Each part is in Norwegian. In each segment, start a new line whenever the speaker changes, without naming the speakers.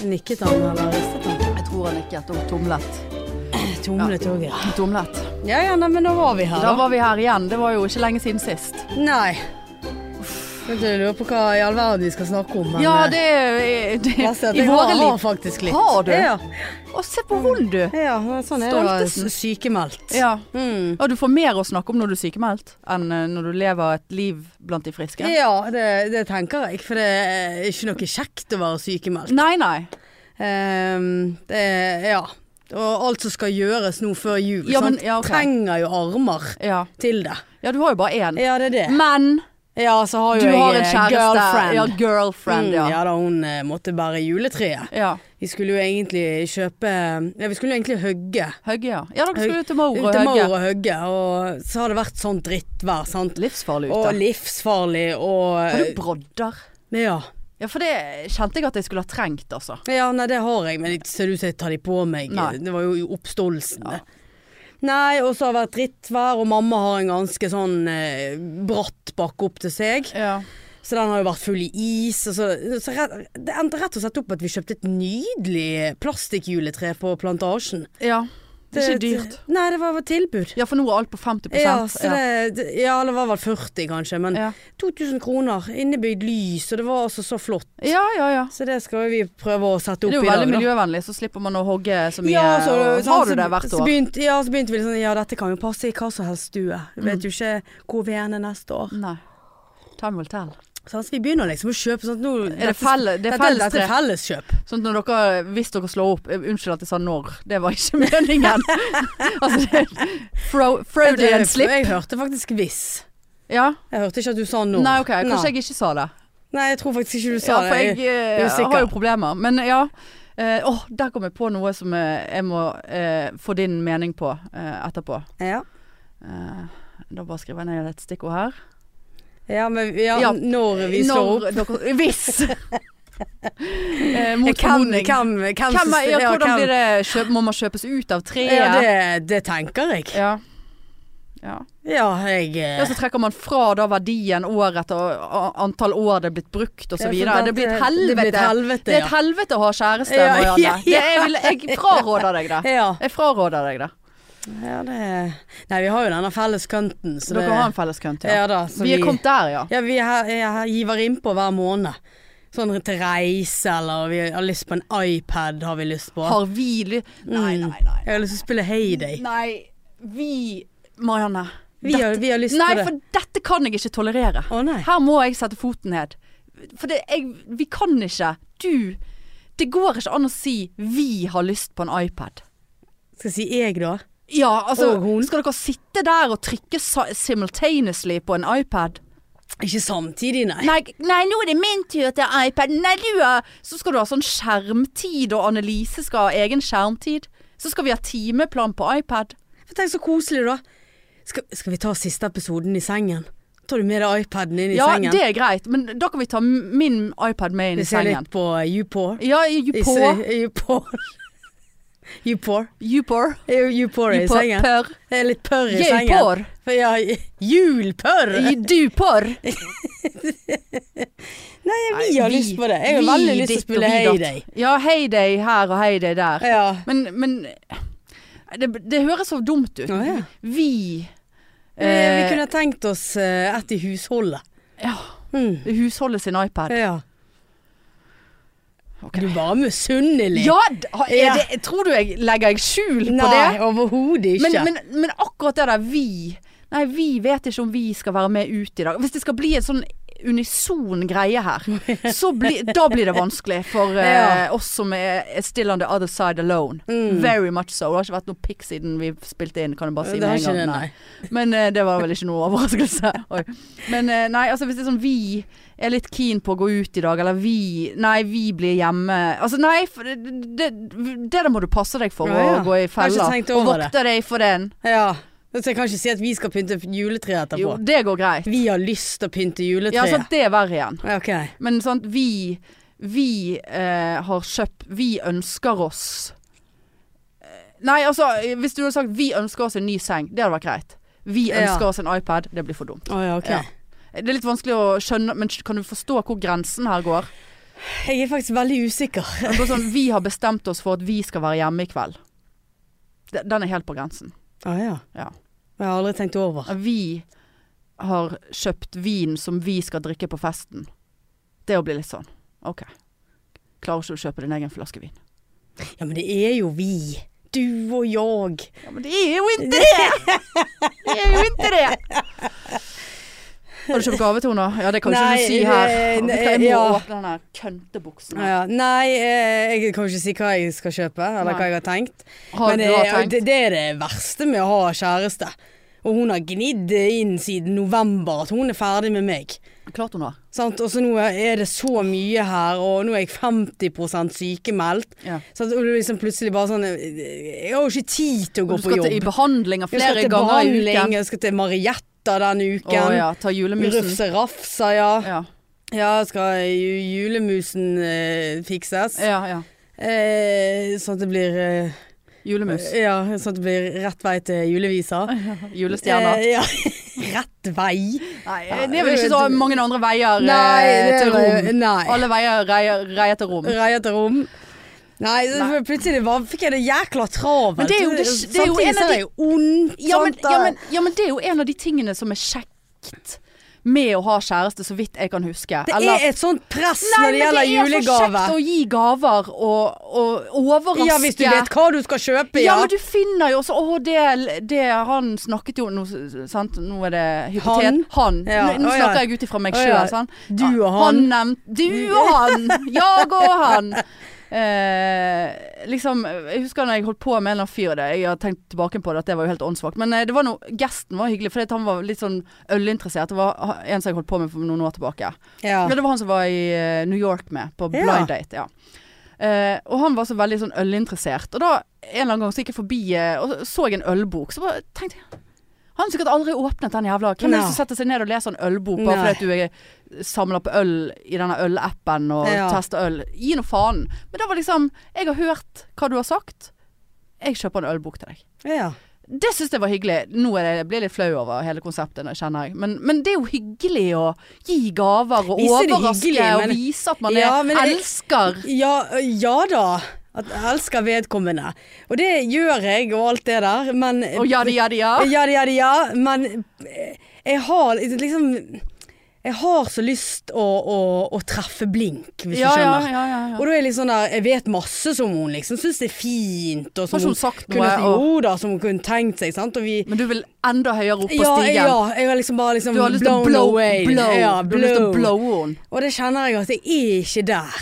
Røyket han eller ristet han?
Jeg tror han ikke at hun tumlet.
Tumlet òg, ja.
Tumlet.
Ja ja, nei, men da var vi her,
Da
da.
var vi her igjen. Det var jo ikke lenge siden sist.
Nei. Vet du, jeg lurer på hva i all verden vi skal snakke om, men
Ja,
eh,
det, det
bare si at
I
jeg
våre
har, har
liv.
faktisk litt.
Har du?
Ja,
Å, se på hund, du.
ja men sånn er det å være
Stoltesen.
sykemeldt.
Ja.
Mm.
Og du får mer å snakke om når du er sykemeldt, enn eh, når du lever et liv blant de friske.
Ja, det, det tenker jeg, for det er ikke noe kjekt å være sykemeldt.
Nei, nei.
Ehm, det, ja. Og alt som skal gjøres nå før jul,
Ja, men-
sant?
ja, ok.
trenger jo armer
Ja,
til det.
ja du har jo bare én.
Ja, det er det.
Men
Ja, så har jo
Mm. du
jeg
har en
eh,
kjæreste.
girlfriend.
Ja, girlfriend,
Mm,
ja.
ja da, hun eh, måtte bære juletreet.
ja.
Vi skulle jo egentlig kjøpe Ja, vi skulle jo egentlig hugge.
Høgge, ja. Ja, dere skulle
Høgge.
jo til Mauro
Til Maur
Høgge.
og hugge, og så har det vært sånn drittvær, sant.
Livsfarlig
Og
ute.
livsfarlig
Har du
og eh,
brodder?
Ja.
Ja, for det kjente jeg at jeg skulle ha trengt, altså.
Ja, nei, det har jeg, men det ser ut som jeg tar de på meg.
Nei.
Det var jo i oppståelsen,
Ja.
det. Nei, og så har det vært drittvær, og mamma har en ganske sånn eh, bratt bakke opp til seg.
Ja.
Så den har jo vært full i is. Og så, så rett, det endte rett og slett opp at vi kjøpte et nydelig plastikkjuletre på plantasjen.
ja. Det er ikke dyrt.
Nei, det var et tilbud.
Ja, for nå er alt på 50
Ja, så
ja.
det, det, ja, det var vel 40 kanskje, men
Ja.
2000 kroner. Innebygd lys, og det var altså så flott.
ja, ja, ja.
Så det skal jo vi prøve å sette
Det
opp
er jo
i dag.
veldig
da.
miljøvennlig, så slipper man å hogge så mye.
Ja, så,
og
så-
har du
så-
det hvert
sånn Så
år?
begynte, ja, så begynte vi sånn Ja, dette kan jo passe i hva som helst stue. Vi
Mm.
vet jo ikke hvor vi er neste år.
Nei. Time will tell.
Sånn, så vi begynner liksom å kjøpe sånn at nå
Er det felle- det er
dette,
felles
dette er
tre?
felleskjøp.
Sånn at når dere, hvis dere slår opp eh, Unnskyld at jeg sa når, det var ikke meningen. altså, det er fro- Freudian
Jeg-
slip.
Jeg hørte faktisk hvis.
Ja.
Jeg hørte ikke at du sa nå.
Nei, ok,
Nei.
kanskje jeg ikke sa det.
Nei, jeg tror faktisk ikke du sa
Ja, for
det.
jeg, eh,
usikker.
har jo problemer. Men ja. eh, Åh, der kom jeg på noe som eh, jeg må eh, få din mening på eh, etterpå.
ja.
Eh, da bare skriver jeg ned et stikkord her.
ja, men ja,
Ja.
når vi slår opp
dere Hvis! eh, mot
Hvem,
formodning.
hvem, hvem,
Hvem er, ja, hvordan
hvem-
blir det? Kjøp, må man kjøpes ut av treet?
Ja, det, det tenker jeg.
Ja. Ja.
Ja, jeg eh,
ja, så trekker man fra da verdien år etter a- antall år det er blitt brukt
ja, for
osv. Det blir et helvete.
sånn eh, Det blir et helvete,
Det er
ja.
et helvete å ha kjæreste,
Ja,
Marianne.
ja,
Det er, jeg, vil- jeg fraråder deg det.
Ja.
Jeg fraråder deg det.
ja, det Nei, vi har jo denne felles skunten, så
Dere
det
har en felles kønt,
ja.
ja.
da, så
Vi er kommet der, ja.
Ja, vi er, her- er, her- giver innpå hver måned. Sånn til reise, eller vi har lyst på en iPad, har vi lyst på.
Har vi ly...
Mm.
Nei, nei, nei.
Jeg har lyst til å spille Heyday.
Nei, vi Marianne.
Vi har, vi har lyst
Nei,
på det.
for dette kan jeg ikke tolerere.
Å nei.
Her må jeg sette foten ned. For det, jeg, vi kan ikke. Du Det går ikke an å si 'vi har lyst på en iPad'.
Skal jeg si jeg, da?
Ja, altså
Og hun.
Skal dere sitte der og trykke sa- simultaneously på en iPad?
Ikke samtidig, nei.
Nei, nei, nå er det min tur til iPad. Nei, du er Så skal du ha sånn skjermtid, og Annelise skal ha egen skjermtid. Så skal vi ha timeplan på iPad.
For tenk så koselig, da. Skal, skal vi ta siste episoden i sengen? Tar du med deg iPaden inn i
Ja,
sengen?
det er greit, men da kan vi ta m- min iPad med inn i
Vi ser
sengen.
litt på YouPore.
Ja, you
I
på.
se- YouPore. YouPore.
You por.
Eh, YouPore i
You por.
sengen.
Pør.
Det er litt pørr i
You
sengen.
por.
For Ja, julpørr!
You Du por.
Nei, vi har
Vi-
lyst på det. Jeg har
vi
veldig lyst til å
ditt og
spille
vi datt.
Heyday.
Ja, Heyday her og Heyday der.
Ja.
Men, men det, det høres så dumt ut.
Å, ja.
Vi
Vi, vi
eh,
kunne tenkt oss eh, et i husholdet.
Ja.
Mm.
Husholdet sin iPad.
Ja.
Ok.
Du er bare misunnelig.
Ja! d- ha-
Ja.
Er det, tror du jeg legger jeg skjul på
Nei,
det?
overhodet ikke.
Men, men, men akkurat det der vi Nei, vi vet ikke om vi skal være med ut i dag. Hvis det skal bli en sånn unison greie her, så bli, da blir det vanskelig for eh, oss som er, er still on the other side alone.
Mm.
Very much so. Det har ikke vært noe pikk siden vi spilte inn, kan jeg bare si
Det
med
har
en
ikke
gang.
det,
Nei.
nei.
Men eh, det var vel ikke noe overraskelse. Oi. Men eh, nei, altså hvis det er sånn vi er litt keen på å gå ut i dag, eller vi Nei, vi blir hjemme. Altså nei, for det, det, det der må du passe deg for
Ja, ja.
å gå i
Jeg har ikke
fella.
tenkt
Og
over det.
vokte deg for den.
Ja. Så jeg kan ikke si at vi skal pynte juletreet etterpå.
Jo, det går greit.
Vi har lyst til å pynte juletreet.
Ja, sant, det er verre igjen.
Ok.
Men sant, vi Vi eh, har kjøpt Vi ønsker oss Eh, Nei, altså, hvis du hadde sagt 'vi ønsker oss en ny seng', det hadde vært greit. Vi
Ja.
ønsker oss en iPad, det blir for dumt.
Å ja, ok.
Ja. Det er litt vanskelig å skjønne, men kan du forstå hvor grensen her går?
Jeg er faktisk veldig usikker.
Det er Bare sånn, vi har bestemt oss for at vi skal være hjemme i kveld. De- Den er helt på grensen.
Ah, ja.
Ja.
Jeg har aldri tenkt over.
Vi har kjøpt vin som vi skal drikke på festen. Det å bli litt sånn. Ok. Klarer ikke å kjøpe din egen flaske vin.
Ja, men det er jo vi. Du og jeg.
Ja, men det er jo ikke det! Det er jo ikke det! Har du kjøpt gave til henne? Ja, det kan ikke
Nei,
du si her.
eh,
Vet du hva,
eh,
Jeg må
ja.
åpne den der køntebuksen.
Ja, nei, eh, jeg kan ikke si hva jeg skal kjøpe, eller
Nei.
hva jeg har tenkt.
Har
men
du
eh,
har tenkt?
Det, det er det verste med å ha kjæreste. Og hun har gnidd inn siden november at hun er ferdig med meg.
Klart hun har.
Sant? Og så nå er det så mye her, og nå er jeg 50 sykemeldt.
Ja.
Sant? Og du liksom plutselig bare sånn eh, Jeg har jo ikke tid til å
Du
gå på
skal til, i
jobb.
behandlinger
Jeg skal
flere
til
ganger i
behandling,
uken.
jeg skal til Marietta denne
Å
uken.
ja, ta julemusen.
Rufse rafsa, ja.
Ja,
Ja, skal ju- julemusen eh, fikses.
ja. ja.
Eh, sånn at det blir eh,
Julemus.
Ja, sånn at det blir rett vei til julevisa.
Julestjerner.
Eh, ja. Rett vei?
Nei, det er vel ikke så mange andre veier eh,
det
til
var-
rom.
Nei.
Alle veier reier, reier til rom.
Reier til rom. Nei, så
Nei.
plutselig var, fikk jeg det jækla travelt.
Men det er jo det- det er jo
Samtidig
en av
så er
de-
det jo ondt.
Ja men,
sant,
ja,
da.
men, ja, men det er jo en av de tingene som er kjekt med å ha kjæreste, så vidt jeg kan huske.
det
Eller-
er et sånt press
Nei,
når det gjelder
men det er for kjekt
julegave.
å gi gaver og, og overraske.
Ja, hvis du vet hva du skal kjøpe,
Ja,
ja.
men du finner jo også Å, det, det Han snakket jo nå, sant? nå er det hypotet. Han.
Han? Ja,
Nå,
å
nå
ja.
snakker jeg ut ifra meg
Å
sjøl.
ja.
sant?
Du
Ja,
og Ah, han.
nevnte Du og han! Jeg og han! Eh, liksom, jeg husker når jeg holdt på med en eller annen fyr det, Jeg har tenkt tilbake på det at det var jo helt åndssvakt. Men eh, det var noe, gesten var hyggelig, for han var litt sånn ølinteressert. Det var ha- en som jeg holdt på med for noen år tilbake.
Ja.
Ja, det var han som var i eh, New York med, på
Ja.
blind date. Ja. Eh, og han var så veldig sånn ølinteressert. Og da en eller annen gang så gikk jeg forbi eh, og så jeg en ølbok. Så bare tenkte jeg Han har sikkert aldri åpnet den jævla Hvem er
Nei.
det som setter seg ned og leser en ølbok bare
Nei.
fordi at du er- samler på øl i denne ølappen og
Ja.
tester øl? Gi nå faen. Men da var liksom Jeg har hørt hva du har sagt. Jeg kjøper en ølbok til deg.
ja.
Det syns jeg var hyggelig. Nå er det, jeg blir jeg litt flau over hele konseptet, det kjenner jeg. Men, men det er jo hyggelig å gi gaver og
Visst er det
overraske
hyggelig,
og
men-
vise at man
Ja,
er,
men jeg-
elsker.
Ja, ja da. At jeg elsker vedkommende. Og det gjør jeg og alt det der, men
Og ja, det, ja, det, ja.
Ja, det, ja, det, ja. Men eh, jeg har liksom Jeg har så lyst å, å, å treffe blink, hvis
Ja,
du
ja,
skjønner.
ja, ja, ja.
Og da er jeg litt sånn der Jeg vet masse som hun liksom syns det er fint, og som
Har ikke
hun
hun sagt
kunne
noe? Og,
Jo da, som hun kunne tenkt seg, sant. Og vi
men du vil enda høyere opp på
ja,
stigen?
ja, jeg har liksom bare liksom
Du har lyst til å
blown
blow,
away.
blow.
Ja,
Du har lyst til å
blow.
blow on.
Og det kjenner jeg at jeg er ikke der.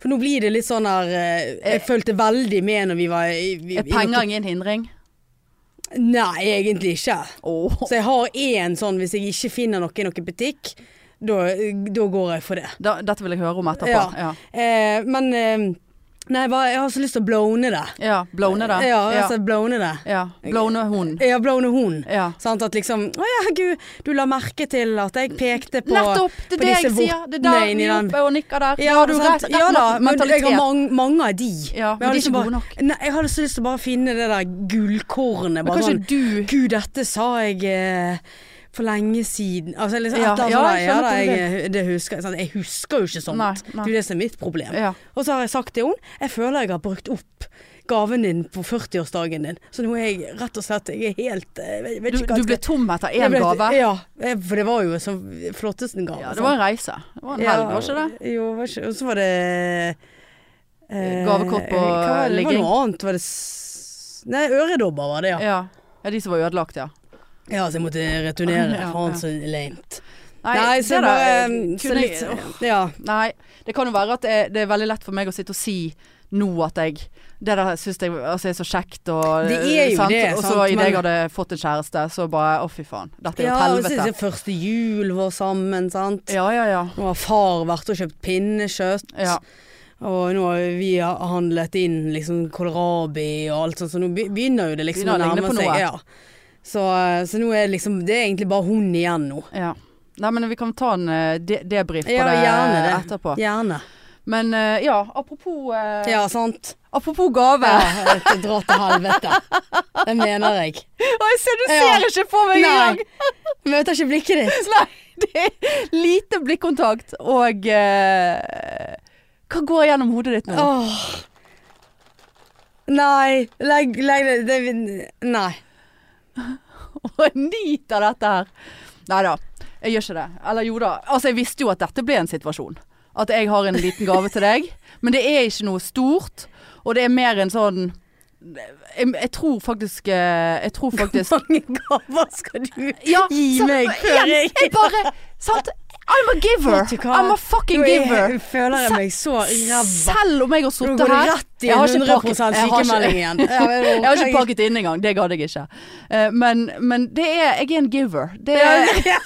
For nå blir det litt sånn der eh, Jeg følte veldig med når vi var i, vi,
Er penger ingen hindring?
Nei, egentlig ikke.
Åh.
Så jeg har én sånn hvis jeg ikke finner noe i noen butikk, da da går jeg for det.
Da, dette vil jeg høre om etterpå.
Ja.
Ja.
Eh, men eh, Nei, bare, jeg har så lyst til å blowne det.
ja. Blowne det.
Ja,
ja.
altså blowne det.
ja. Blowne hun.
Jeg har blowne hun.
Ja.
Sant at liksom Å ja, gud, du la merke til at jeg pekte på
Nettopp! Det
på
er det jeg
disse
sier. Det er
vortene
der
inni
vi
den.
oppe og nikker der.
Ja,
Da har du
sant?
Altså, rett, rett
ja da, men jeg har
mentalitet.
mange, mange av de.
Ja,
jeg har
men de er
lyst til altså
ikke
bare-
gode nok.
Nei, jeg har så lyst til å bare finne det der gullkornet.
Men
Bare
kanskje
sånn
du
Gud, dette sa jeg eh, for lenge siden. Altså, liksom,
Ja,
et eller annet
ja,
sånt der,
jeg
ja, da,
skjønner
jeg, det husker jeg. sant? Jeg husker jo ikke sånt.
Nei, nei.
Det er jo det som er mitt problem.
ja.
Og så har jeg sagt til henne jeg føler jeg har brukt opp gaven din på 40-årsdagen din. Så nå er jeg rett og slett jeg er helt eh, jeg vet- jeg vet
du,
ikke hva
du
jeg
ble
skal-
tom etter
Jeg
én
ble-
gave.
Ja, eh, for det var jo så flotteste gave.
Ja, det var en reise. Det var en
Ja,
helg, var ikke det?
Jo, var ikke, og så var det eh,
Gavekort på
hva var det? Det var
ligging.
noe annet. Var det s Nei, øredobber var det, ja.
Ja. ja, de som var ødelagt, ja.
Ja, så jeg måtte returnere.
Ja,
Faen,
ja.
så lame.
Nei,
Nei, så
det da,
bare eh,
kunne
så litt,
jeg, åh,
Ja.
Nei, det kan jo være at det er, det er veldig lett for meg å sitte og si nå at jeg Det der syns jeg altså, er så kjekt og
Det er jo
sant?
det,
Og så
sant,
idet jeg
men-
hadde fått en kjæreste, så bare å, fy faen. Dette er jo
ja
et
og så er
helvete.
det første jul vår sammen, sant.
Ja, ja, ja.
Nå har far vært og kjøpt pinnekjøtt,
ja.
og nå har vi handlet inn liksom kålrabi og alt sånt, så nå be- begynner jo det liksom
Begynner å
å
ligne
nærme
på
seg.
noe.
Ja. Så, så nå er det liksom Det er egentlig bare hun igjen nå.
ja. Nei, men vi kan ta en eh, de debrief på
Ja,
det,
gjerne det.
etterpå.
Gjerne.
Men eh, ja, apropos, eh,
Ja, sant.
apropos gave.
Ja, Dra til helvete. Det mener jeg.
Å, jeg ser du
Ja.
ser ikke på meg engang!
Nei. Møter ikke blikket ditt.
Nei, det er lite blikkontakt og eh, Hva går gjennom hodet ditt nå?
Åh. Nei. Legg, legg det, det Nei.
Og jeg nyter dette her. Nei da, jeg gjør ikke det. Eller jo da. Altså, jeg visste jo at dette ble en situasjon. At jeg har en liten gave til deg. Men det er ikke noe stort. Og det er mer en sånn jeg, jeg tror faktisk eh, Jeg tror faktisk
Mange gaver skal du
ja,
gi
sant,
meg
igjen,
før jeg
Jeg bare Sant? I'm a giver.
Vet du hva?
I'm a fucking
Nå er-
giver.
føler jeg meg så ræva.
Selv om jeg har
Nå
sittet
går det
her
rett i
Jeg har ikke
100
pakket- jeg har ikke-
sykemelding igjen.
Jeg har ikke pakket inn engang. Det gadd jeg ikke. Eh, Men, men det er Jeg er en giver. Det er,
Ja.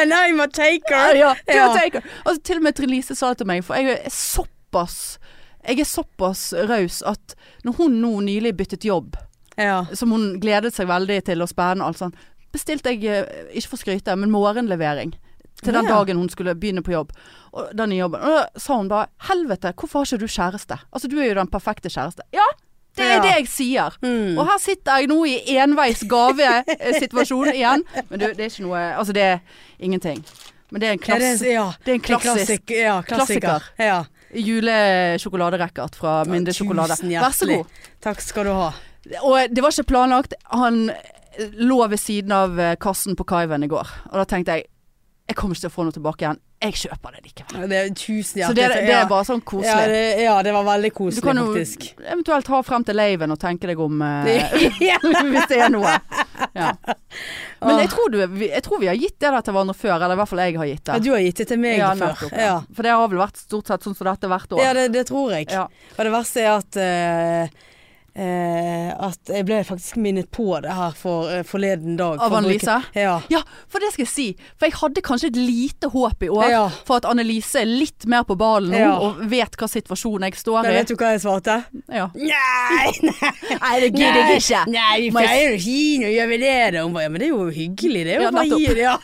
And I'm a taker.
Ja, ja. Du
Ja.
er taker. Altså, til og med Trine Lise sa det til meg, for jeg er såpass jeg er såpass raus at når hun nå nylig byttet jobb,
Ja.
som hun gledet seg veldig til og spennende og alt sånn, bestilte jeg, eh, ikke for å skryte, men morgenlevering til den
Ja.
dagen hun skulle begynne på jobb. Og den nye jobben. Og da sa hun bare 'Helvete, hvorfor har ikke du kjæreste?' Altså, du er jo den perfekte kjæreste. Ja, det er
Ja.
det jeg sier.
Mm.
Og her sitter jeg nå i enveis gave-situasjon igjen. Men du, det er ikke noe Altså, det er ingenting. Men det er en
Ja,
klasse...
det, er- ja.
Det er en klassisk
klassik- ja, klassiker.
klassiker.
Ja.
julesjokoladerekkert fra Minde sjokolade.
Tusen
Vær så
hjertelig.
god.
Takk skal du ha.
Og det var ikke planlagt. Han lå ved siden av eh, kassen på Kaiven i går, og da tenkte jeg jeg kommer ikke til å få noe tilbake igjen. Jeg kjøper det likevel.
Det er tusen hjertelig.
så det, det er bare sånn
ja, ja,
koselig.
det, ja, det var veldig
du
koselig,
kan jo
faktisk.
eventuelt ha frem til laven og tenke deg om eh,
Ja.
hvis det er noe. Ja. Men jeg tror, du, jeg tror vi har gitt det der til hverandre før, eller i hvert fall jeg har gitt det.
Ja, du har gitt det til meg
Ja,
før.
nettopp,
Ja,
ja. For det har vel vært stort sett sånn som dette hvert år.
ja det, det tror jeg.
Ja.
Og det verste er at eh, eh, At jeg ble faktisk minnet på det her for, eh, forleden dag.
Av
For å bruke-
Annelise?
Ja.
Ja, for det skal jeg si. For jeg hadde kanskje et lite håp i år
Ja.
for at Annelise er litt mer på ballen nå
Ja.
og vet hva situasjonen jeg står
Men
i.
vet du hva jeg svarte?
Ja.
Nei, nei,
Nei, det
Nei, vi
Må jeg-
pleier jo ikke gi noe, gjør vi det? da? Hun bare, ja, men det er jo hyggelig, det. er jo
Ja,
bare å gi
nettopp.
det, ja.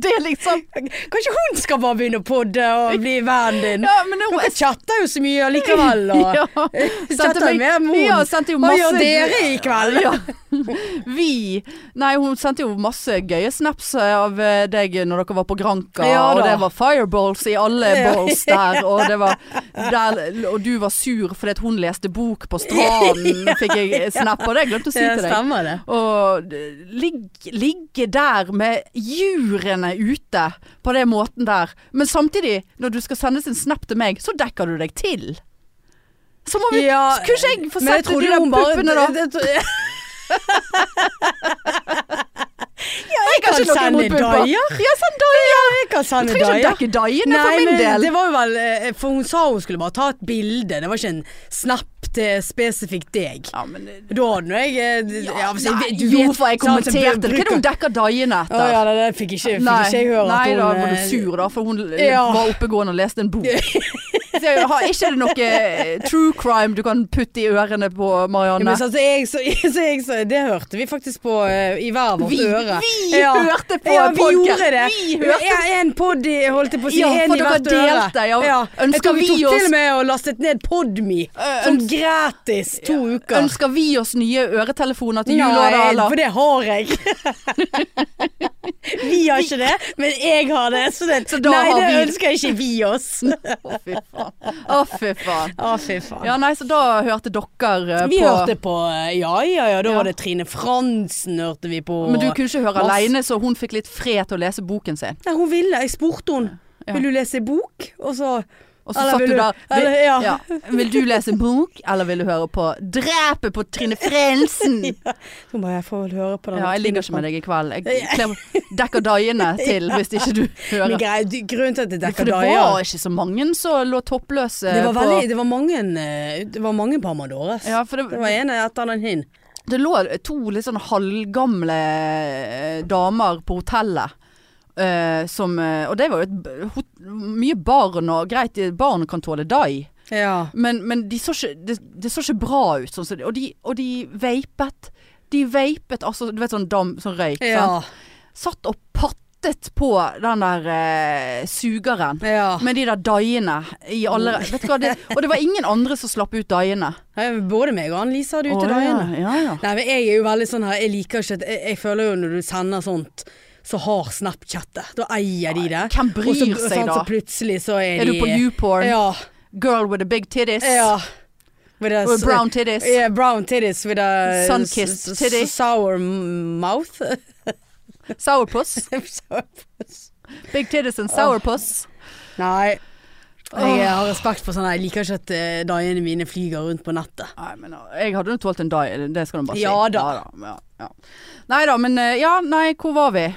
Det er liksom
Kanskje hun skal bare begynne å podde og bli vennen din?
Ja, men nå
Dere chatter jo så mye allikevel. Og...
ja,
Chatter
meg-
med moren.
Ja, sendte jo
Hva
masse
gjør dere i kveld?
Ja. Vi Nei, hun sendte jo masse gøye snaps av eh, deg når dere var på Granka,
Ja
og
da.
det var fireballs i alle
Ja.
balls der, og det var der, Og du var sur fordi at hun leste bok på stranden, fikk jeg snap, og det glemte jeg å si
Ja,
til deg.
stemmer det.
Og eh, ligg, ligge der med jurene ute på den måten der. Men samtidig, når du skal sendes en snap til meg, så dekker du deg til. Så må vi
Ja,
Skulle ikke jeg få
Men jeg
sett de
trodde
der
hun bare
puppene, da?
det- det- Ja, jeg
har
kan
ikke noe
sende
imot pupper.
daier.
Ja, sånn daier.
Jeg kan
Du
sende
trenger ikke å
daier.
dekke daiene
Nei,
for min
men
del.
det var jo vel eh, For hun sa hun skulle bare ta et bilde, det var ikke en snap til spesifikt deg.
Ja, men eh,
Da hadde nå jeg eh, d- ja, altså, jeg vet- altså,
du vet hva jeg
sant, så
kommenterte. Hva er
bruker-
det hun dekker daiene
Å
etter?
ja, nei, det fikk ikke, fikk ikke jeg høre
nei
at hun
da var du
eh,
sur, da, for hun l-
Ja.
var oppegående og leste en bok. Så jeg har ikke det noe eh, true crime du kan putte i ørene på
Ja,
Marianne?
men så, så jeg, så, så jeg, så, det hørte vi faktisk på eh, i hver vårt
Vi-
øre.
vi hørte på
ja, vi
podden.
gjorde det.
Vi hørte-
Ja, en pod i- holdt jeg på å si.
Ja,
en
for
i
dere
hvert
delte,
øre.
ja. Ønsker
Jeg tror vi
vi
tok
oss-
til og med og lastet ned Podme
Øh,
som gratis to uker.
Ønsker vi oss nye øretelefoner til jul og
Nei,
daler?
for det har jeg. vi har ikke det, men jeg har det. Så, det,
Så da
nei,
har
det
vi-
ønsker ikke vi oss.
Å, fy faen. Å, fy faen.
Å, fy faen.
Ja, nei, så da hørte dere eh,
Vi
på
hørte på eh, Ja ja ja, da
Ja.
var det Trine Fransen hørte vi på.
Men du kunne ikke høre
Masse.
aleine, så hun fikk litt fred til å lese boken sin.
Nei, hun ville. Jeg spurte hun.
Ja.
Vil du lese bok? Og så
Og så
Eller
satt
vil
du
du-
der vil,
eller- ja.
ja. vil du lese en bok, eller vil du høre på 'Drepet på Trine Frensen'?
Så må jeg få høre på den.
Ja, jeg ligger ikke med deg i kveld. Jeg kler- dekker daiene til hvis ikke du
Men
hører.
grei, du- grunnen til at det
For
dekker
det
daier
var ikke så mange som lå toppløse
det var,
på-
veldig, det var mange eh, Det var mange Pamadores.
ja, for det,
Det var en etter den hin.
Det lå to litt sånn halvgamle eh, damer på hotellet. eh, som, eh, og det var jo et, b- hot- mye barn og greit, barn kan tåle dai.
Ja.
Men, men de så ikke, det, det så ikke bra ut. Sånn, som det- og, de, og de veipet. De veipet altså Du vet sånn dam, sånn røyk.
Ja.
Sant? Satt og pattet på den der eh, sugeren.
ja.
Med de der daiene i alle Vet du hva, det, og det var ingen andre som slapp ut daiene.
Nei, Eh, Både meg og Annelise hadde ute
Å,
daiene.
ja, ja, ja.
Nei, men jeg er jo veldig sånn her Jeg liker ikke at jeg, jeg føler jo når du sender sånt som har Snapchatet. Da eier de det.
Hvem bryr
Og så-
seg
sant,
da?
Så plutselig så er,
Er
de
du på YouPorn?
Ja.
Girl with the big titties?
ja. With a
With
s-
brown titties?
Yeah, brown titties with a s-
Sun-kissed
s-
titty.
Sour m- mouth.
Sourpuss? Big titties and sourpuss?
Nei. Jeg har respekt for sånn Jeg liker ikke at eh, dagene mine flyger rundt på nettet.
Nei, men uh, jeg hadde jo tålt en dag, det skal du bare si.
Ja da.
Ja, ja. Nei da, men uh, ja, nei, hvor var vi?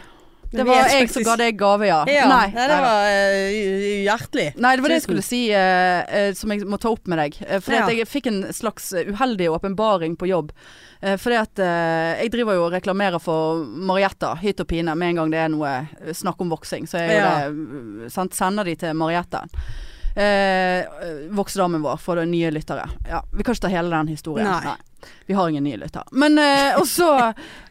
Vi
Det var
vet
jeg
faktisk-
som ga deg gave, ja.
Ja,
nei,
nei, det
nei da.
var eh, hj- hjertelig.
Nei, det var det jeg
Tusen.
skulle si eh, eh, som jeg må ta opp med deg. Eh, fordi at
Ja.
jeg fikk en slags eh, uheldig åpenbaring på jobb. Eh, fordi at eh, jeg driver jo og reklamerer for Marietta, hytt og pine, med en gang det er noe eh, snakk om voksing. Så er jo
Ja.
det, eh, sant, sender de til Marietta. Eh, voksedamen vår, for de nye lyttere. Ja, vi kan ikke ta hele den historien.
Nei.
Vi har ingen nye lyttere. Men eh, og så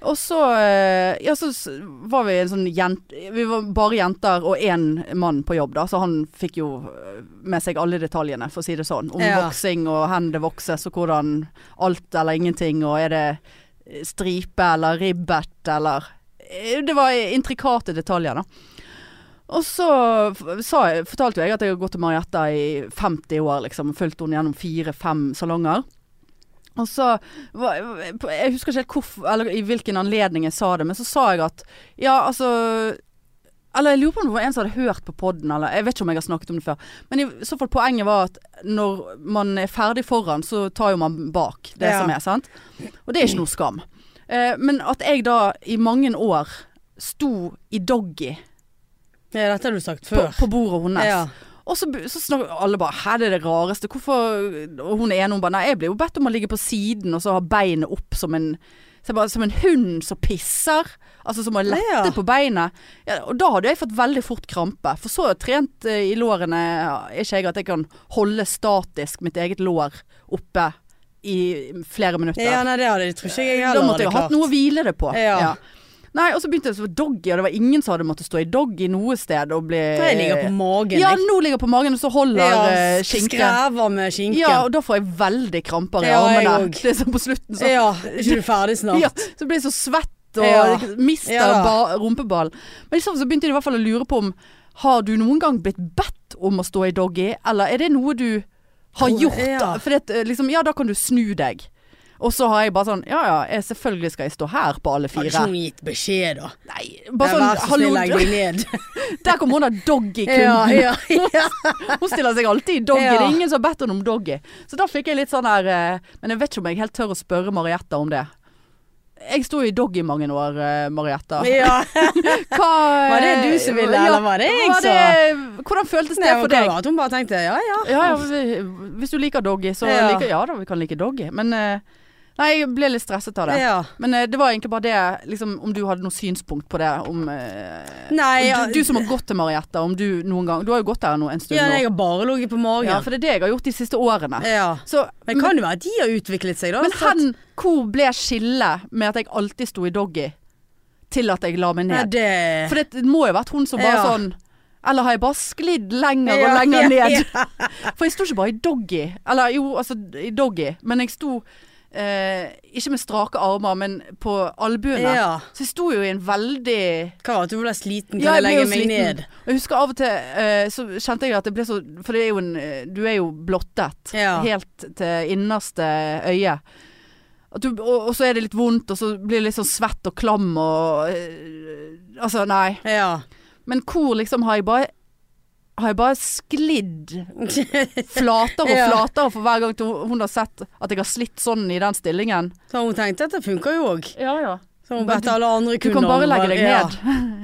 Og så eh, Ja, så s- var vi en sånn jent... Vi var bare jenter og én mann på jobb, da. Så han fikk jo eh, med seg alle detaljene, for å si det sånn. Om
Ja.
voksing og hvor det vokses, og hvordan alt eller ingenting, og er det øh, stripe eller ribbet eller Eh, Det var intrikate detaljer, da. Og så f- sa jeg, fortalte jo jeg at jeg har gått til Marietta i 50 år, liksom. og Fulgt henne gjennom fire-fem salonger. Og så var- Jeg husker ikke helt hvorfor, eller i hvilken anledning jeg sa det, men så sa jeg at Ja, altså Eller jeg lurer på om det var en som hadde hørt på podden, eller jeg vet ikke om jeg har snakket om det før. Men i så fall poenget var at når man er ferdig foran, så tar jo man bak det
Ja.
som er, sant? Og det er ikke noe skam. Eh, men at jeg da i mange år sto i doggy
Ja, dette har du sagt
på,
før.
på bordet hennes.
ja.
Og så, så snakker alle bare 'hæ, det er det rareste', hvorfor Og hun ene hun bare 'nei, jeg blir jo bedt om å ligge på siden og så ha beinet opp som en så jeg bare, Som en hund som pisser. Altså som å lette
Ja.
på beinet. Ja, og da hadde jeg fått veldig fort krampe. For så trent eh, i lårene er ikke jeg at jeg kan holde statisk mitt eget lår oppe i flere minutter.
ja, nei, det hadde jeg tror ikke jeg heller
Da måtte jeg jo
hadde
hatt noe å hvile det på.
Ja.
Nei, og så begynte det å være doggy, og det var ingen som hadde måttet stå i doggy noe sted og bli
Nei, Jeg ligger på magen.
Ja,
jeg.
nå ligger jeg på magen, og så holder eh,
Ja,
skinken.
skrever med skinken.
Ja, og da får jeg veldig kramper i
Ja, jeg
armene.
òg.
Det er sånn på slutten så,
Ja, er ikke du ferdig snart?
ja, så blir jeg så svett og
Ja.
mister
Ja.
ba rumpeballen. Men liksom, så begynte de i hvert fall å lure på om Har du noen gang blitt bedt om å stå i doggy, eller er det noe du har
Tror-
gjort?
ja.
da? Fordi at, eh, liksom, ja, da kan du snu deg. Og så har jeg bare sånn Ja ja, jeg, selvfølgelig skal jeg stå her på alle
Har ikke
fire.
hun gitt beskjed, da?
Nei, bare
Nei, Vær
sånn
så
Hallo,
snill, legg deg ned.
der kom hun der
ja,
doggy-kunden.
ja, ja.
Hun stiller seg alltid i doggy.
Ja.
Det er ingen som har bedt henne om doggy. Så da fikk jeg litt sånn her eh, Men jeg vet ikke om jeg helt tør å spørre Marietta om det. Jeg sto jo i doggy mange år, eh, Marietta.
ja.
Hva, eh,
Var det du som ville, eller var det jeg
var det- Hvordan føltes det
Nei,
for
det
deg?
var at hun bare tenkte ja ja.
Ja, ja, vi- hvis du liker doggy, så
Ja.
liker Ja da, vi kan like doggy. Men eh, Nei, jeg ble litt stresset av det.
ja.
Men eh, det var egentlig bare det, liksom, om du hadde noe synspunkt på det. Om, eh,
Nei, ja.
du, du som har gått til Marietta, om du noen gang Du har jo gått der nå en stund
ja, nei,
nå.
jeg har bare ligget på magen.
Ja, for det er det jeg har gjort de siste årene.
Ja.
Så,
Men det kan jo være at de har utviklet seg, da.
men
så at-
hen, hvor ble skillet med at jeg alltid sto i doggy, til at jeg la meg
Nei,
ned?
det
For det må jo ha vært hun som bare
Ja.
sånn Eller har jeg bare sklidd lenger og
Ja,
lenger
ja,
ned? For jeg sto ikke bare i doggy. Eller jo, altså i doggy, men jeg sto eh, ikke med strake armer, men på albuene.
Ja.
Så jeg sto jo i en veldig
Hva var det du ble sliten? Kan
Ja,
jeg
ble
legge
jo
meg
sliten.
ned?
Og Jeg husker av og til eh, så kjente jeg at det ble så For det er jo en, eh, du er jo blottet
Ja.
helt til innerste øye. At du, og, og så er det litt vondt, og så blir det litt sånn svett og klam og eh, Altså, nei.
Ja.
Men hvor liksom har jeg bare har jeg bare sklidd flatere og
Ja.
flatere for hver gang til hun hun har sett at jeg har slitt sånn i den stillingen?
så hun tenkte at det funker jo òg.
Ja, ja.
Så hun
Men
bedt
du-
alle andre
Du
kunder
kan bare
om å
legge deg
ja.
ned.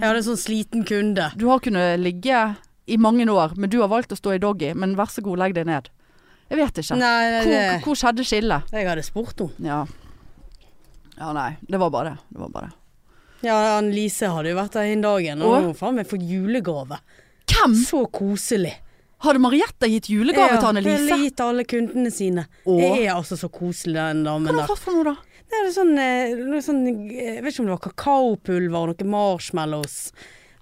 Jeg hadde en sånn sliten kunde.
Du har kunnet ligge i mange år, men du har valgt å stå i doggy. Men vær så god, legg deg ned. Jeg vet ikke.
Nei, nei,
Hvor,
det-
hvor skjedde skillet?
Jeg hadde spurt henne.
Ja. ja, nei. Det var bare det. det, var bare det.
Ja, Annelise hadde jo vært der en dagen, og
Å? Mm.
hun har faen meg fått julegave.
Hvem?
Så koselig.
Hadde Marietta gitt julegave til
Ja, det
Annelise?
har gitt alle kundene sine.
Å.
Det er altså så koselig, den
Hva
damen
har hun
der.
fått for noe, da?
Det er sånn, eh, noe sånn eh, Jeg vet ikke om det var kakaopulver og noe marshmallows.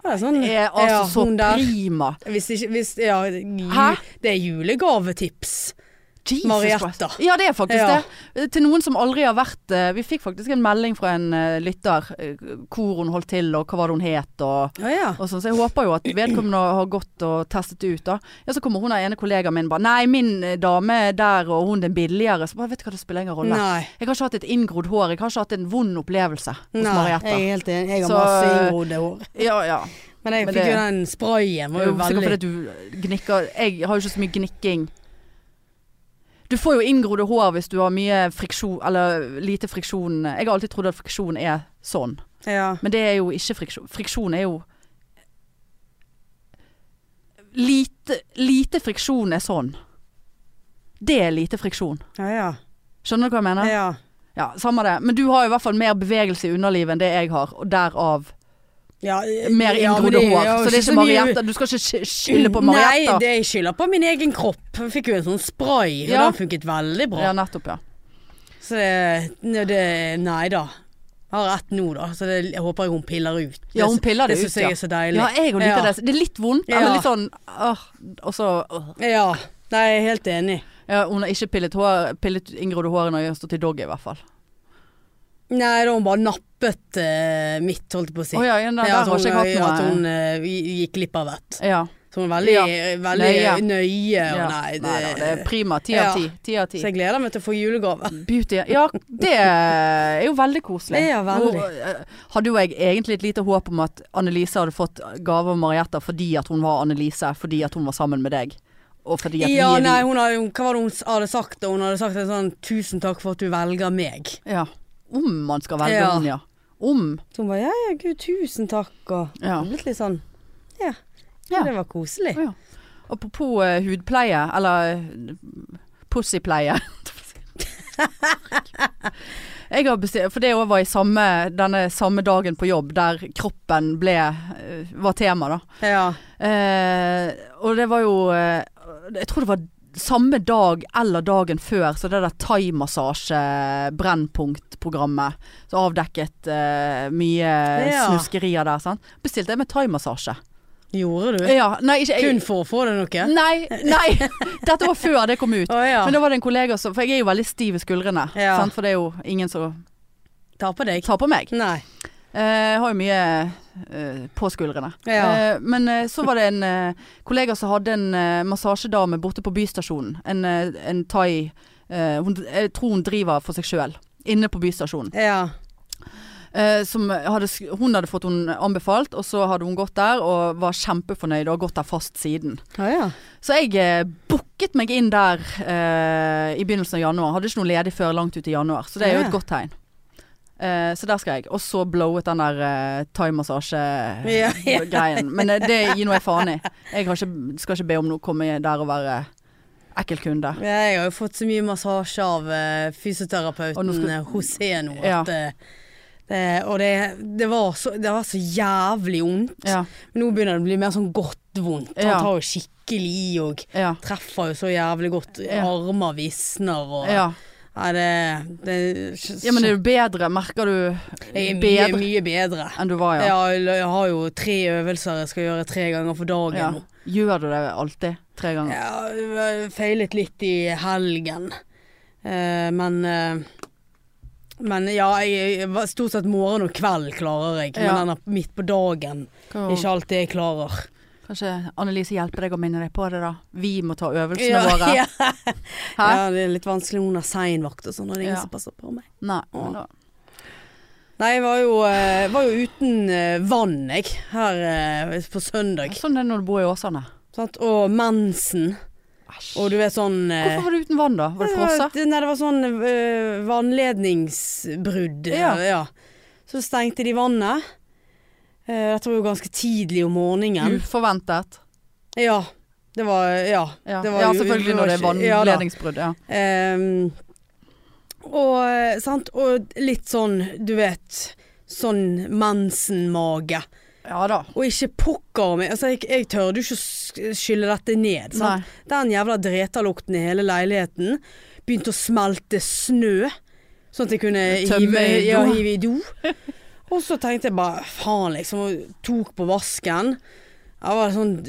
Det er sånn,
Det er altså
ja,
så
hun der.
prima.
Hvis ikke hvis, ja, ju,
Hæ?
Det er julegavetips.
Jesus
Marietta.
Christ. Ja, det er faktisk
Ja.
det. Til noen som aldri har vært eh, Vi fikk faktisk en melding fra en eh, lytter eh, hvor hun holdt til, og hva var det hun het, og,
Å ja.
og sånn. Så jeg håper jo at vedkommende har gått og testet det ut, da. Ja, så kommer hun der ene kollegaen min bare Nei, min eh, dame er der, og hun den billigere. Så bare, vet du hva, det spiller ingen rolle.
Nei.
Jeg har ikke hatt et inngrodd hår. Jeg har ikke hatt en vond opplevelse hos
Nei,
Marietta.
jeg er helt enig. Jeg har
Så,
masse inngrodde hår.
Ja, ja.
Men jeg
men
fikk
det-
jo den sprayen.
Det
Var
er
jo
jo
veldig
sikkert fordi du gnikker Jeg har jo ikke så mye gnikking. Du får jo inngrodde hår hvis du har mye friksjon Eller lite friksjon. Jeg har alltid trodd at friksjon er sånn,
ja.
men det er jo ikke friksjon. Friksjon er jo Lite, lite friksjon er sånn. Det er lite friksjon.
Ja, ja.
Skjønner du hva jeg mener?
ja.
Ja, Samme det. Men du har jo i hvert fall mer bevegelse i underlivet enn det jeg har, og derav
ja eh,
mer
ja, men
inngrodde
det-
hår.
ja,
Så det er ikke
mye-
Marietta. Du skal ikke sk- skylde på Marietta.
Nei, det jeg skylder på min egen kropp. Jeg fikk jo en sånn spray, og
Ja.
den funket veldig bra.
Ja, nettopp, ja.
Så det, ne- det Nei da. Jeg har ett nå, da, så det, jeg håper hun piller ut.
Ja, hun piller det
det
ut,
syns jeg er så deilig.
Ja, jeg og liker
Ja.
det. Det er litt vondt,
Ja.
eller litt sånn åh, Og så åh.
Ja. Nei, jeg er helt enig.
ja, Hun har ikke pillet, hår, pillet inngrodde håret når jeg har stått i doggy, i hvert fall.
Nei, da har hun bare nappet eh, mitt, holdt jeg på å si.
Å ja, ja, der,
Ja, at
der har
hun,
ikke jeg
ja,
hatt
at
noe
hun eh, gikk glipp av et.
ja.
Så hun er veldig, veldig
Nøye.
nøye.
ja.
og Nei, det,
da, det er prima. Ti
Ja.
av ti. Ti av ti.
så jeg gleder meg til å få julegave.
Beauty Ja, det er jo veldig koselig.
Det er veldig.
Nå, eh, hadde jo jeg egentlig et lite håp om at Annelise hadde fått gave av Marietta fordi at hun var Annelise, fordi at hun var sammen med deg. Og fordi at
Ja,
vi er
nei,
vi.
hun hadde, hva var det hun s- hadde sagt? da? Hun hadde sagt en sånn 'tusen takk for at du velger meg'.
Ja. Om man skal velge
Ja.
hun, ja. Om.
Så hun bare 'ja ja, gud, tusen takk' og
Ja.
litt litt sånn Ja.
Ja.
Det var koselig.
Ja. Apropos eh, hudpleie, eller eh, pussypleie. Jeg har bestilt, for det også var i samme, denne samme dagen på jobb der kroppen ble, eh, var tema da.
Ja.
Eh, og det var jo, eh, jeg tror det var samme dag eller dagen før, så det der thaimassasje-brennpunkt-programmet, så avdekket eh, mye
Ja.
snuskerier der, sant? Bestilte jeg med thaimassasje.
Gjorde du?
Ja, nei, ikke, jeg,
Kun for å få deg noe?
Nei, nei. Dette var før det kom ut.
Å ja.
Men da var det en kollega som For jeg er jo veldig stiv i skuldrene.
Ja.
Sant? For det er jo ingen som
Ta på deg.
tar på meg.
Nei.
Eh, Jeg har jo mye eh, på skuldrene.
Ja.
Eh, men eh, så var det en eh, kollega som hadde en eh, massasjedame borte på Bystasjonen. En, eh, en thai eh, hun, Jeg tror hun driver for seg sjøl. Inne på Bystasjonen.
Ja.
Eh, som hadde, sk- hun hadde fått hun anbefalt, og så hadde hun gått der og var kjempefornøyd og har gått der fast siden.
Å ja.
Så jeg eh, booket meg inn der eh, i begynnelsen av januar. Hadde ikke noe ledig før langt ut i januar, så det er jo
Ja.
et godt tegn. Eh, så der skal jeg. Og så blowet den der eh,
Ja, ja.
thaimassasje-greien. Men eh, det gir noe jeg faen i. Jeg har ikke, skal ikke be om noe, komme der og være ekkel kunde.
Ja, Jeg har jo fått så mye massasje av eh,
Og
fysioterapeuten
nå skal-
eh, Hoseno.
Ja.
At, eh, det, og det, det, var så, det var så jævlig vondt.
Ja,
Men nå begynner det å bli mer sånn godt vondt. Han
Ja.
tar jo skikkelig i og
ja,
treffer jo så jævlig godt.
Ja.
Armer visner og
ja.
Nei, det, det,
ja men det er jo bedre. Merker
Jeg er
du
mye,
bedre
mye bedre.
enn du var,
Ja.
ja?
jeg- jeg har jo tre øvelser jeg skal gjøre tre ganger for dagen
ja.
nå.
Gjør du det alltid? Tre ganger?
Ja, jeg feilet litt i helgen. Eh, men eh, Men ja, jeg, jeg, var- stort sett morgen og kveld klarer jeg.
Ja.
Men den er midt på dagen. Ikke alt det jeg klarer.
Kanskje Annelise hjelper deg å minne deg på det, da. Vi må ta
Ja,
øvelsene våre.
ja.
Hæ?
ja, det er litt vanskelig når hun har sein vakt og sånn, og det er ingen
Ja.
som passer på meg.
Nei.
Ja.
men da-
Nei, jeg var jo, eh, var jo uten eh, vann, jeg, her eh, på søndag.
Sånn er det når du bor i Åsane.
Sant? Og mensen.
Æsj.
Og du vet sånn eh,
Hvorfor var du uten vann, da? Var det frosset?
Nei, det var sånn øh, vannledningsbrudd. Eh,
Ja.
ja. Så stengte de vannet. Eh, dette var jo ganske tidlig om morgenen.
Mm. Uforventet.
Ja. Det var Ja.
Ja,
Det var
ja
jo-
selvfølgelig
det var
når det er
ikke- ja da.
vannledningsbrudd. Ja.
Ehm, og, eh, sant? og litt sånn, du vet Sånn mensenmage.
ja da.
Og ikke pokker meg altså, Jeg, jeg tørde jo ikke å sk- skylle dette ned. Sant?
Nei.
Den jævla dretalukten i hele leiligheten begynte å smelte snø, sånn at jeg kunne
Tømme
hive,
i do.
ja, hive i do. Og så tenkte jeg bare faen, liksom, og tok på vasken. Det var sånn,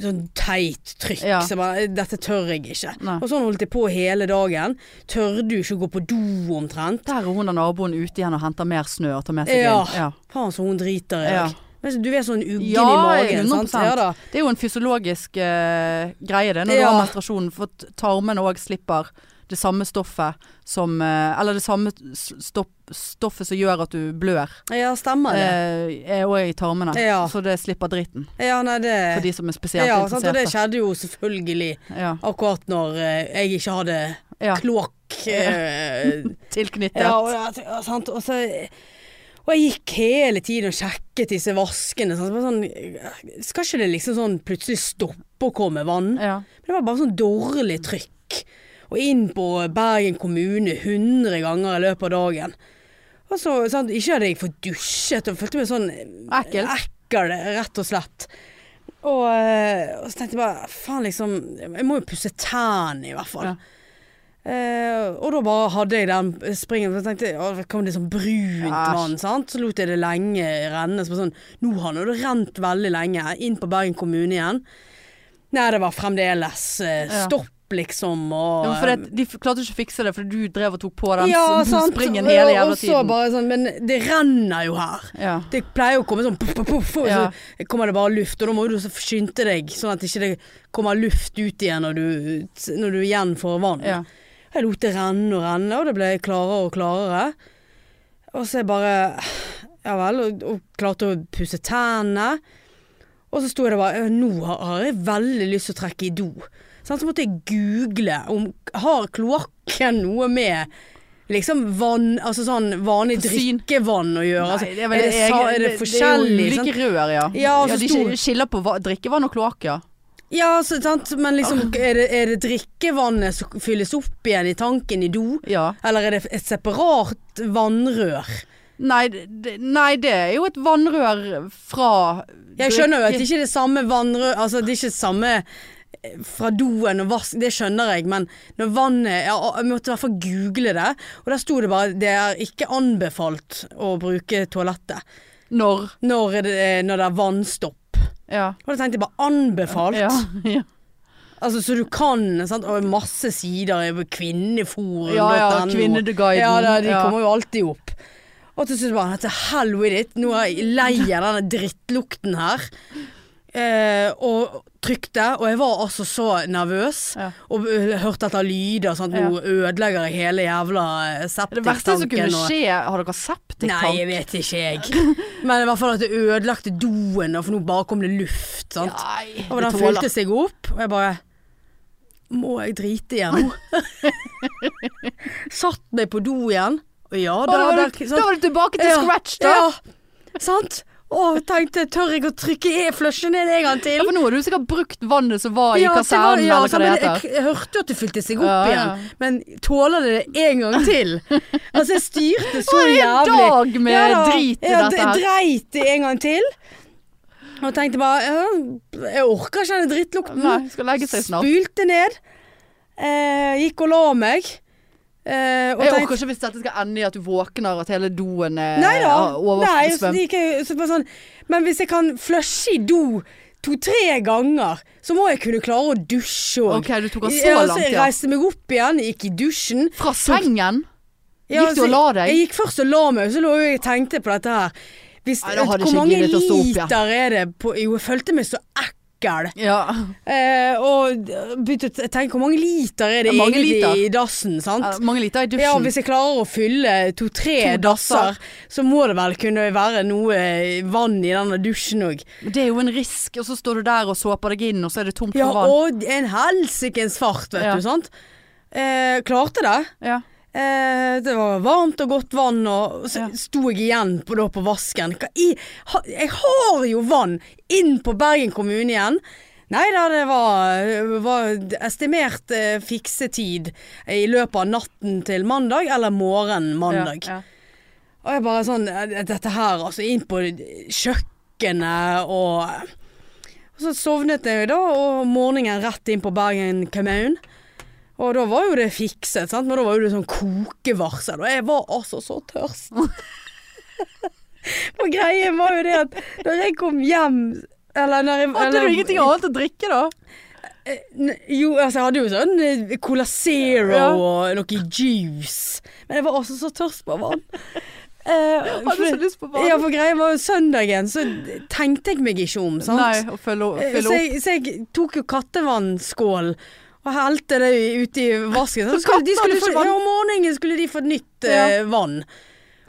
sånn teit trykk.
Ja.
Så jeg bare, dette tør jeg ikke.
Nei.
Og sånn holdt jeg på hele dagen. Tør du ikke å gå på do omtrent?
Der er hun og naboen ute igjen og henter mer snø og tar med seg
Ja.
inn. Ja.
Faen så hun driter i
Ja.
deg. Men så- Du er sånn uggen
Ja,
i magen. Sant?
100%.
Ja da.
Det er jo en fysiologisk eh, greie det, når du
Ja.
har menstruasjon, for at tarmene òg slipper det samme stoffet som eh, Eller det samme s- stopp, stoffet som gjør at du blør,
Ja, stemmer det.
eh, er òg i tarmene.
Ja.
Så det slipper dritten,
Ja, nei, det
for de som er spesielt
ja, sant? Og det
interesserte.
skjedde jo selvfølgelig
Ja.
akkurat når eh, jeg ikke hadde
Ja.
kloakk. eh,
Tilknyttet.
Ja, og, det- ja, sant? Og, så, og jeg gikk hele tiden og sjekket disse vaskene. Sant? Så bare Sånn, skal ikke det liksom sånn plutselig stoppe å komme vann?
Ja.
Men det var bare sånn dårlig trykk. Og inn på Bergen kommune 100 ganger i løpet av dagen. Og så, sant? Ikke hadde jeg fått dusjet og følte meg sånn
Ekkel.
ekkel rett og slett. Og, eh, og så tenkte jeg bare faen, liksom Jeg må jo pusse tennene, i hvert fall.
Ja.
Eh, og da bare hadde jeg den springen. Så tenkte jeg, å, det kom det sånn brunt
Æsj.
vann, sant. Så lot jeg det lenge renne. Så bare sånn, nå har nå det rent veldig lenge. Inn på Bergen kommune igjen. Nei, det var fremdeles eh,
Ja.
stopp, liksom.
Ja,
Og,
men for det, de f- klarte ikke å fikse det, for du drev og tok på den
Ja,
s-
sant.
springen hele
Og-
jævla
og så
tiden.
bare sånn, men det renner jo her.
Ja.
Det pleier jo å komme sånn poff, poff, poff, og
Ja.
så kommer det bare luft. Og da må du så skynde deg, sånn at ikke det ikke kommer luft ut igjen når du, når du igjen får vann.
Ja.
Jeg lot det renne og renne, og det ble klarere og klarere. Og så jeg bare Ja vel. Og, og klarte å pusse tennene. Og så sto jeg der bare «Ja, Nå har har jeg veldig lyst til å trekke i do. Sånn, så måtte jeg google om Har kloakken noe med liksom vann Altså sånn vanlig
Syn.
drikkevann å gjøre? Altså,
Nei, det er, vel
det, sa-
egen-
er det
det-
forskjellig?
Det er jo
sant?
ulike rør, ja.
Ja, og så
de
stor-
skil- skiller på va- drikkevann og kloakk, ja.
Ja, så, sant? men liksom
Ah.
er det, er det drikkevannet som fylles opp igjen i tanken i do?
ja.
Eller er det et separat vannrør?
Nei, det, nei, det er jo et vannrør fra
Jeg skjønner jo at det
drikke-
ikke er det samme vannrør Altså det er ikke det samme eh, fra doen og vask, det skjønner jeg, men når vannet ja, Jeg måtte i hvert fall google det, og der sto det bare det er ikke anbefalt å bruke toalettet
Når.
når det, eh, når det er vannstopp.
Ja.
Og da tenkte jeg bare anbefalt?
Ja, ja.
Altså så du kan, sant, og masse sider i kvinneforum.no.
ja, ja Kvinneguiden.
Ja, da, de
Ja.
kommer jo alltid opp. Og til slutt bare til hell with it, nå er jeg lei av denne drittlukten her. Eh, og trykte, og jeg var altså så nervøs.
Ja.
Og eh, hørte etter lyder, sånn at nå ødelegger jeg hele jævla eh,
Det verste som kunne
septiktanken. og-
skje Har dere septiktank?
Nei, jeg vet ikke jeg. Men i hvert fall at det ødelagte doen, og for nå bare kom det luft. Sant?
Nei,
Og
det
den
tåler.
fylte seg opp, og jeg bare Må jeg drite igjen nå? Satt meg på do igjen. Og ja,
Å,
da,
da, var
der,
du,
sant?
da var du tilbake til
Ja,
scratch, da. Ja.
Ja, sant? Og tenkte, tør jeg å trykke e flushe ned en gang til?
for nå har du sikkert brukt vannet som var i
Ja, det var-
kasernen,
ja,
eller hva
sant,
det
men
heter.
Jeg, jeg hørte jo at det fylte seg opp
Ja, ja.
igjen, men tåler det det en gang til? Altså, jeg styrte så
Det er en
jævlig.
dag med
da.
drit i
ja,
dette
Jeg
her.
dreit det en gang til. Og tenkte bare ja, Jeg orker ikke den drittlukten.
Nei, skal legge seg snart.
Spylte ned. Eh, gikk og la meg. Eh, og
Jeg
tenkte
orker ikke hvis dette skal ende i at du våkner at hele doen er
Nei da.
har
Nei, så
oversvømt.
gikk jeg, så bare sånn, men hvis jeg kan flushe i do to-tre ganger, så må jeg kunne klare å dusje òg.
Ok, du tok den så
Ja, så
langt,
jeg
ja.
reiste meg opp igjen, gikk i dusjen.
Fra sengen?
Ja,
Gikk
så
du og la deg?
Jeg gikk først og la meg, og så lå jeg og tenkte på dette her. Hvis,
Nei, da hadde
hvor
ikke
mange
jeg giddet å stå opp, ja.
liter er det på Jo, jeg følte meg så ekkel.
Ja.
Eh, og begynte å tenke hvor mange liter er det
Ja, mange
egentlig
liter.
i dassen, sant?
Eh, Mange liter i dusjen.
Ja, hvis jeg klarer å fylle to-tre
To dasser.
dasser, så må det vel kunne være noe vann i denne dusjen òg.
Men det er jo en risk, og så står du der og såper deg inn, og så er det tomt
Ja,
for vann.
og en helsikens fart, vet
Ja.
du, sant. Eh, klarte det.
Ja.
Eh, det var varmt og godt vann, og så
Ja.
sto jeg igjen på, da, på vasken. Hva i ha, Jeg har jo vann inn på Bergen kommune igjen. Nei da, det var, var estimert eh, fiksetid i løpet av natten til mandag, eller morgenen mandag.
Ja,
Og jeg bare sånn eh, Dette her, altså inn på kjøkkenet og Og så sovnet jeg da, og morgenen rett inn på Bergen Commune. Og da var jo det fikset, sant? men da var jo det sånn kokevarsel. Og jeg var altså så tørst. og greien var jo det at når jeg kom hjem Eller når jeg
Hadde
eller-
du ingenting annet å drikke, da?
N- Jo, altså jeg hadde jo sånn eh, Cola Zero
Ja.
og noe juice. Men jeg var også så tørst på vann. Eh,
Hadde du så
for,
lyst på vann?
ja, for greia var jo søndagen, så tenkte jeg meg ikke om, sant.
Nei, å følge,
Eh,
følge
så,
opp.
jeg, så jeg tok jo kattevannskål og helte det ute i vasken. Så
Så
skulle, de
katten hadde
skulle få,
ikke vann?
ja, om morgenen skulle de få nytt eh, vann.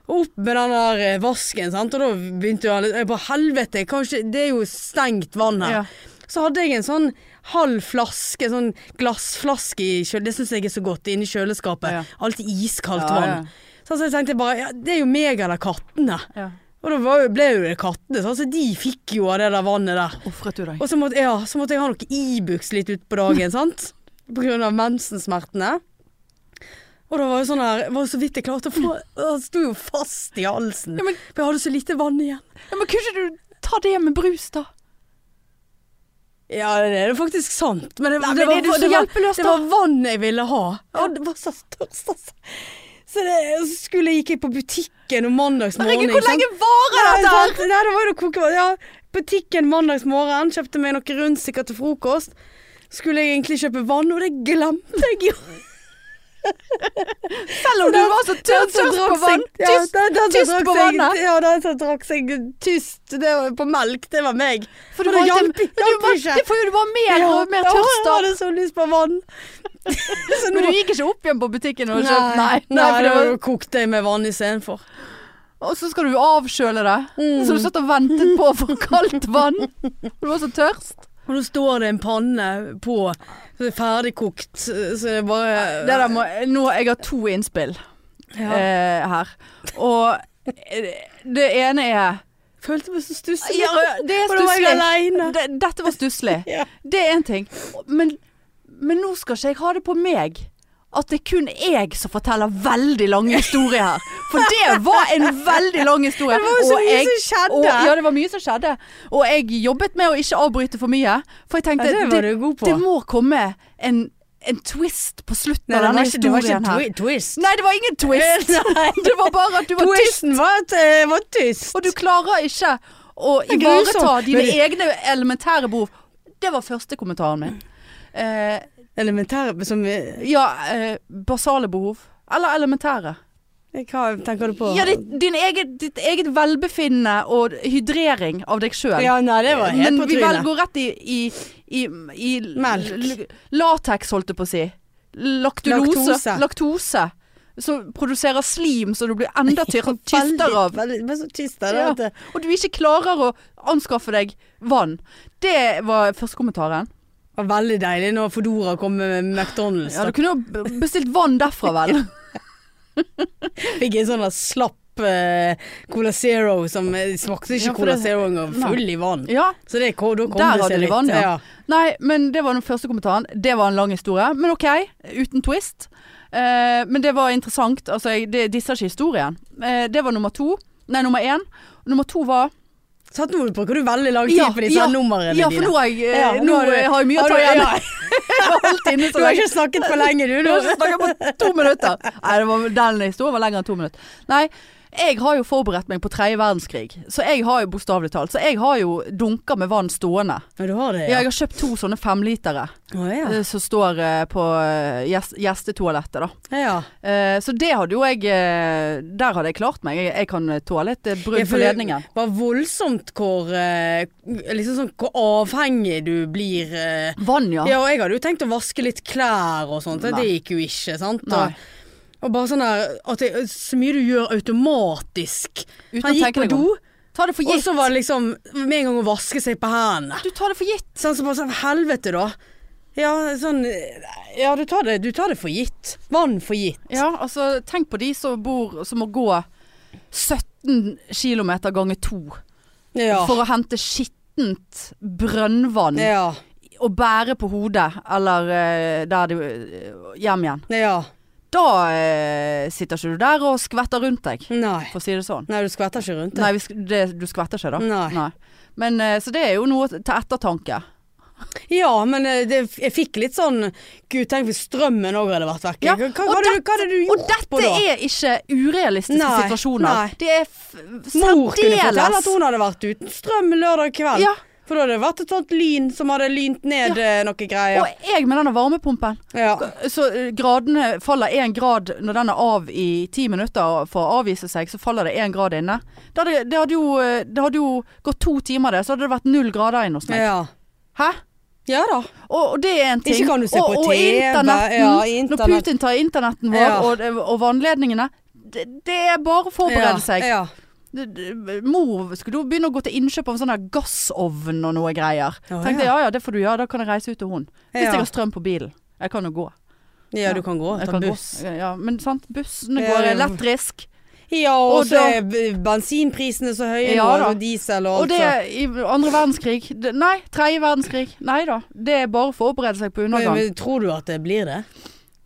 Og opp med den der eh, vasken, sant? og da begynte jo alle jeg bare, helvete, kanskje, det er jo stengt vann her.
Ja.
Så hadde jeg en sånn halv flaske, sånn glassflaske i kjøle... Det syns jeg er så godt inne i kjøleskapet.
Ja.
Alltid iskaldt
Ja,
vann. Så jeg tenkte bare ja, det er jo meg eller kattene.
Ja.
Og da var, jo- ble jo det kattene, sånn, så de fikk jo av det der vannet der.
Ofret du deg?
Og så måtte, ja, så måtte jeg ha noe Ibux litt utpå dagen, sant? På grunn av mensensmertene. Og det var jo sånn her, var jo så vidt jeg klarte å få Han sto jo fast i halsen.
Ja, men-
For jeg hadde så lite vann igjen.
Ja, men kunne ikke du ta det med brus, da?
Ja, det er jo faktisk sant. Men det,
Nei,
det,
men
var,
er du så
det, var,
hjelpeløs,
det
da?
var vann jeg ville ha. Ja, det var så størst, altså. Så, det, så skulle jeg gikk jeg på butikken om mandags morgen.
Herregud, hvor
ikke sant?
lenge varer
Nei,
dette? her?
sant? Nei, det var jo kokevann. Ja, butikken mandags morgen kjøpte meg noen rundstykker til frokost. Skulle jeg egentlig kjøpe vann, og det glemte jeg jo.
Selv om du var så tørr
Den som
tørst på
drakk
vann.
seg- ja,
Tyst.
den- den som
tyst
drakk
på
seg-
vannet.
Ja, den som drakk seg tyst det var på melk, det var meg.
For du
Men
var
det
jo
hjelper-
til-
hjelper
du var-
ikke.
Det får jo du bare mer og mer tørst
da
av.
hadde jeg så lyst på vann. så
Men
nå,
du gikk ikke opp igjen på butikken og kjøpte? Nei. nei,
da
for det var,
kokte jeg med vann istedenfor.
og så skal du avkjøle det. Så du satt og ventet på for kaldt vann. Du var så tørst.
Og da står det en panne på, så det er ferdigkokt, så det er bare
Det der må, nå, jeg har to innspill
ja.
eh, her. Og eh, det ene er
Følte meg så stusslig.
ja, Det er
For da var jeg
stusslig.
aleine.
Det- Dette var stusslig.
Ja.
Det er én ting. Men, men nå skal ikke jeg ha det på meg at det er kun jeg som forteller veldig lange historier her. For det var en veldig lang historie.
Det var jo så
og
mye
jeg-
som skjedde.
Og, ja, det var mye som skjedde. Og jeg jobbet med å ikke avbryte for mye. For jeg tenkte
Ja, det var du god på.
det må komme en, en twist på slutten
Nei, det
av denne
var ikke, det var ikke
historien her.
twi- twist.
Nei, det var ingen twist. Det var bare at du var tyst.
Twisten var at jeg var tyst.
Og du klarer ikke å
er grusomt.
ivareta dine
Men det-
Eh,
sånn eh,
Eh, Altså, eh,
eh, liksom sånn eh. sånn liksom, Sånn eh, sånn, For da hadde det vært et
Mm. eh, Eh, eh, altså, eh, eh, sånn. eh,
sånt lyn som hadde lynt ned eh, noe greier.
Og jeg med denne varmepumpen.
Ja.
Så eh, gradene faller én grad når den er av i ti minutter for å avvise seg, så faller det én grad inne. Det hadde, det, hadde jo, eh, det hadde jo gått to timer det, så hadde det vært null grader inne hos meg.
ja.
Hæ?
Ja da.
Og, og det er en ting.
Ikke kan du se
og,
på
Og
TV,
internetten.
ja,
Når
internett.
Putin tar internetten vår
Ja.
og, og vannledningene. Det, det er bare å forberede seg.
Ja.
D- d- Mor skulle jo begynne å gå til innkjøp av en sånn der gassovn og noe greier.
Å,
Tenkte jeg
ja.
ja ja, det får du gjøre, da kan jeg reise ut til hun. Hvis
Ja.
jeg har strøm på bilen. Jeg kan jo gå.
ja. ja, du kan gå.
Jeg
Ta
kan gå.
buss.
Ja, men sant, bussene
Ja,
går
ja.
elektrisk.
Ja, og,
Og
så
da-
er b- bensinprisene så høye
Ja
nå,
da.
og diesel og
Og
alt
det
sånt.
i andre verdenskrig det, Nei, tredje verdenskrig. Nei da. Det er bare for å forberede seg på
Men,
undergang.
men Tror du at det blir det?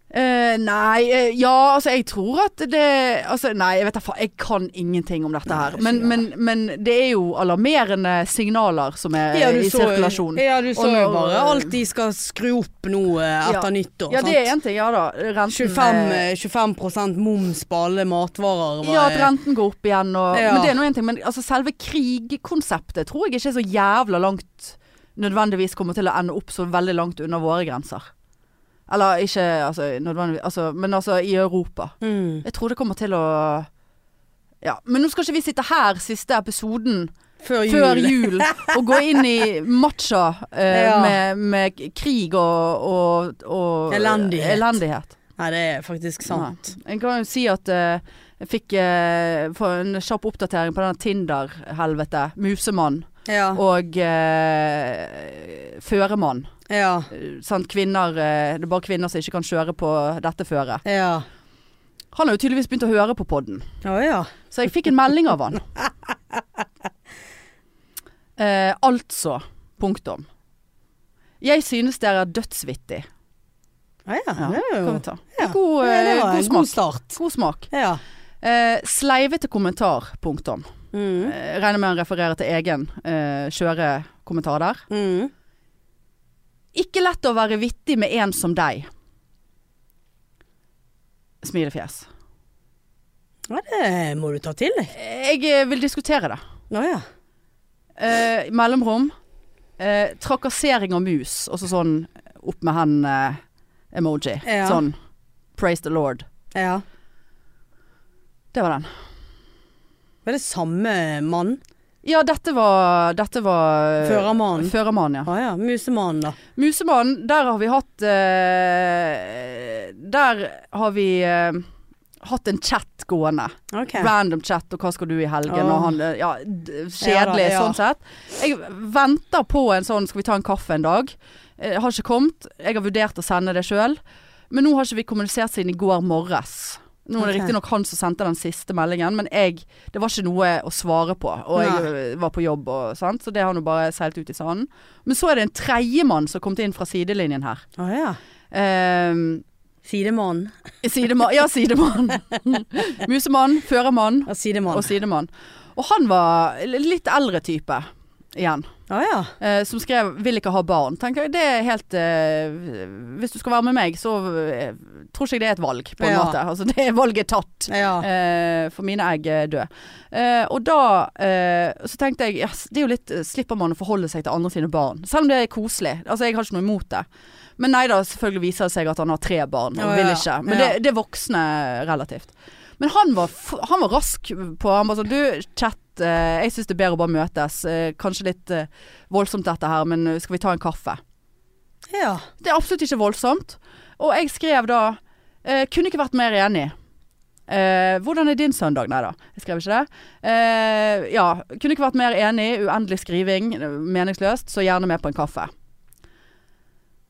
Eh, nei, eh, ja altså jeg tror at det altså, Nei, jeg vet da faen. Jeg kan ingenting om dette her.
det er
Men,
ikke
men, men det er jo alarmerende signaler som er
du
Eh, i
så-
sirkulasjon.
Ja, du så
Og
jo
når-
bare alt de skal skru opp nå eh, etter nyttår.
Ja, det
sant?
er én ting, ja da. Renten
25,
eh,
eh, 25 moms på alle matvarer. var-
Ja, at renten går opp igjen og
Ja.
Men det er nå én ting. Men altså, selve krigkonseptet tror jeg ikke er så jævla langt nødvendigvis kommer til å ende opp så veldig langt under våre grenser. Eller ikke altså, nødvendigvis altså, Men altså i Europa.
Mm.
Jeg tror det kommer til å Ja. Men nå skal ikke vi sitte her siste episoden
Før jul.
før jul og gå inn i matcha eh,
Ja.
med, med krig og, og, og
Elendighet.
elendighet.
Nei, det er faktisk sant.
Nei. Jeg kan jo si at eh, jeg fikk eh, få en kjapp oppdatering på denne Tinder-helvete. Musemann
Ja.
og eh, føremann.
Ja.
Eh, Sant? Kvinner, eh, det er bare kvinner som ikke kan kjøre på dette føret.
Ja.
Han har jo tydeligvis begynt å høre på podden,
Å ja.
så jeg fikk en melding av han. Eh, altså, punktum. Jeg synes dere er dødsvittig.
Å ja.
Ja,
Det er jo
kan vi ta.
ja.
God,
Ja, det
eh,
var
god
en god
smak.
start.
God smak.
Ja.
Eh, sleivete kommentar, punktum.
Mm.
Eh, regner med han refererer til egen eh, skjøre kommentar der.
Mm.
Ikke lett å være vittig med en som deg. Smilefjes.
Ja, det må du ta til deg.
Jeg eh, vil diskutere det.
Å ja.
Eh, mellomrom. Eh, trakassering av mus, og så sånn opp med hen-emoji.
Ja.
Sånn praise the lord.
ja.
Det var den.
Var det samme mann?
Ja, dette var, dette var
Førermannen?
Førermannen, ja.
Å ja. Musemannen, da.
Musemannen, der har vi hatt eh, Der har vi eh, hatt en chat gående.
Ok.
Random chat og 'hva skal du i helgen?'
Åh.
og han eh, Ja,
Ja
d-
da,
kjedelig
ja.
sånn sett. Jeg venter på en sånn 'skal vi ta en kaffe en dag'? Eh, har ikke kommet. Jeg har vurdert å sende det sjøl. Men nå har ikke vi kommunisert siden i går morges. Nå er det
Ok.
riktignok han som sendte den siste meldingen, men jeg, det var ikke noe å svare på. Og jeg eh, var på jobb, og, sant? så det har nå bare seilt ut i sanden. Men så er det en tredjemann som kom inn fra sidelinjen her.
Å ja.
Eh,
Sidemann.
sidemann Ja, sidemann. Musemann, førermann
Ja, sidemann.
og sidemann. Og han var l- litt eldre type igjen.
Å ja.
Eh, som skrev 'vil ikke ha barn'. Tenker jeg, Det er helt eh, Hvis du skal være med meg, så eh, tror ikke jeg det er et valg, på en
Ja.
måte. Altså, det valget er tatt.
Ja.
Eh, for mine egg er døde. Eh, og da eh, så tenkte jeg yes, det er jo litt eh, Slipper man å forholde seg til andre sine barn. Selv om det er koselig. Altså Jeg har ikke noe imot det. Men nei da, selvfølgelig viser det seg at han har tre barn og
Å,
vil
ja.
ikke. Men
Ja.
det, det er voksne relativt. Men han var, f- han var rask på Han bare sånn Du, chat, eh, jeg syns det er bedre å bare møtes. Eh, kanskje litt eh, voldsomt dette her, men eh, skal vi ta en kaffe?
ja.
Det er absolutt ikke voldsomt. Og jeg skrev da eh, Kunne ikke vært mer enig. Eh, hvordan er din søndag? Nei da, jeg skrev ikke det. Eh, ja, kunne ikke vært mer enig. Uendelig skriving. eh, Meningsløst. Så gjerne med på en kaffe.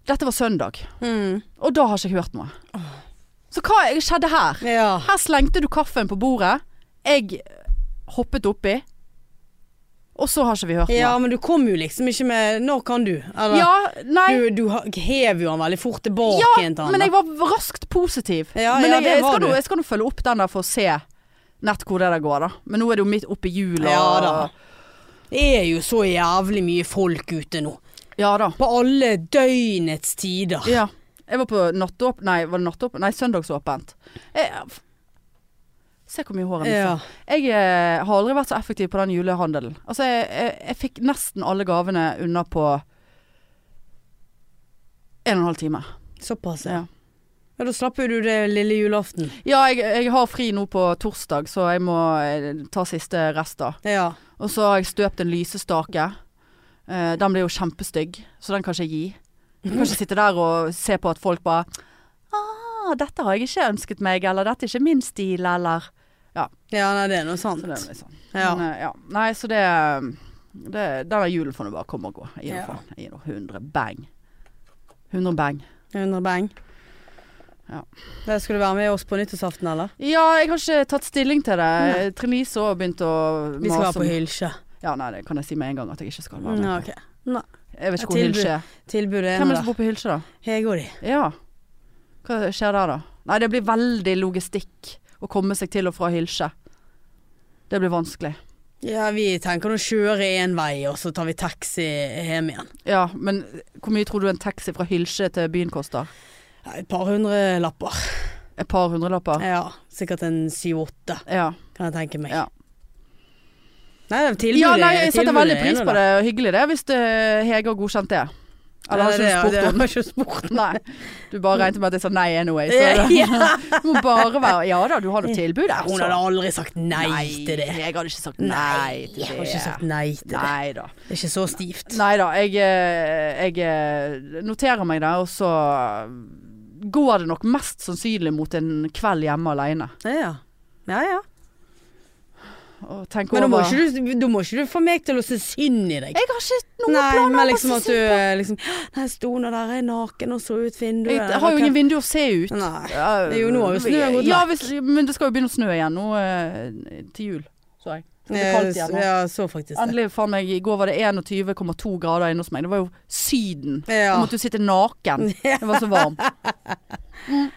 Dette var søndag,
Mm.
og da har ikke jeg hørt noe. Så hva skjedde her?
ja.
Her slengte du kaffen på bordet. Jeg hoppet oppi. Og så har ikke vi hørt noe.
Ja, men du kom jo liksom ikke med Når kan du? Eller,
ja nei.
Du, du ha- hev jo han veldig fort tilbake
Ja,
igjen til han.
men
da.
jeg var raskt positiv.
Ja, ja,
men jeg,
det
jeg,
var
skal
du.
nå, jeg skal nå følge opp den der for å se nett hvor det der går, da. Men nå er det jo midt oppi jula.
Ja da. Det er jo så jævlig mye folk ute nå.
Ja da.
På alle døgnets tider.
Ja. Jeg var på nattåp... Nei, var det nattåp... Nei, søndagsåpent. Jeg, Se hvor mye hår jeg
Ja.
mistet. Jeg eh, har aldri vært så effektiv på den julehandelen. Altså, jeg, jeg, jeg fikk nesten alle gavene unna på en og en halv time.
Såpass, ja.
Ja,
ja. Da slapp jo du det lille julaften.
ja jeg, jeg har fri nå på torsdag, så jeg må eh, ta siste rest da.
Ja.
Og så har jeg støpt en lysestake. Eh, den ble jo kjempestygg, så den kan ikke jeg gi. Jeg kan ikke sitte der og se på at folk bare ah, 'Dette har jeg ikke ønsket meg', eller 'Dette er ikke min stil', eller
ja, nei, det er noe
Så
sant.
det er liksom.
Ja.
Men, eh, ja. Nei, så det, det Denne julen får nå bare komme og gå. Jeg gir nå
Ja.
faen. Jeg gir nå 100 bang. 100 bang.
100 eh, bang.
Ja.
Det skulle du være med oss på nyttårsaften, eller?
Ja, jeg har ikke tatt stilling til det. Trine Lise har begynt å
Vi skal
mase
være på
om-
Hylsje.
Ja, nei, det kan jeg si med en gang at jeg ikke skal være med.
Ja, ok.
Jeg vet ikke
Et
hvor
tilbud.
Hylsje er.
Tilbudet er nå
Hvem er det som
der.
bor på Hylsje, da?
Hege og de.
Ja. Hva skjer der, da? Nei, det blir veldig logistikk å komme seg til og fra Hylsje. Det blir vanskelig.
Ja, vi tenker å kjøre én vei, og så tar vi taxi hjem igjen.
Ja, men hvor mye tror du en taxi fra Hylsje til byen koster?
Ja, Et par hundre lapper.
Et par hundrelapper?
Ja, sikkert en syv-åtte,
Ja.
kan jeg tenke meg.
Ja.
Nei, det er tilbudet.
ja nei, jeg setter
tilbudet
veldig
er
pris
nå
på
der.
det, og hyggelig det, hvis det, Hege har godkjent det. Eller
Nei,
har ikke
det-
du
det
spurt om?
har jeg ikke spurt.
Nei. Du bare regnet med at jeg sa nei anyway, så
Ja,
du må bare være Ja da, du har noe tilbud, altså.
Hun hadde aldri sagt nei, til det.
Jeg hadde ikke sagt
Nei,
nei til det.
jeg har ikke sagt nei til det.
Nei da.
Det er ikke så stivt.
Nei da, jeg, eh, jeg eh, noterer meg det, og så eh, går det nok mest sannsynlig mot en kveld hjemme alene.
Ja, ja. ja.
Og tenk
Men da må,
over
ikke du, da må ikke du få meg til å se synd i deg.
Jeg har ikke noen
Nei,
planer
men
om å
liksom
se
at du eh, liksom Nei, jeg sto nå der jeg er naken og så ut vinduet.
Jeg har jo ingen vinduer å se ut.
Nei.
Ja,
Det er jo nå, hvis snøen går
ja,
vekk.
hvis, men det skal jo begynne å snø igjen nå eh, til jul. Så jeg. Det blir kaldt igjen nå.
Ja, så faktisk det.
Endelig, faen meg, i går var det 21,2 grader inne hos meg. Det var jo Syden.
Ja.
Da måtte du sitte naken. Det var så varmt. Mm.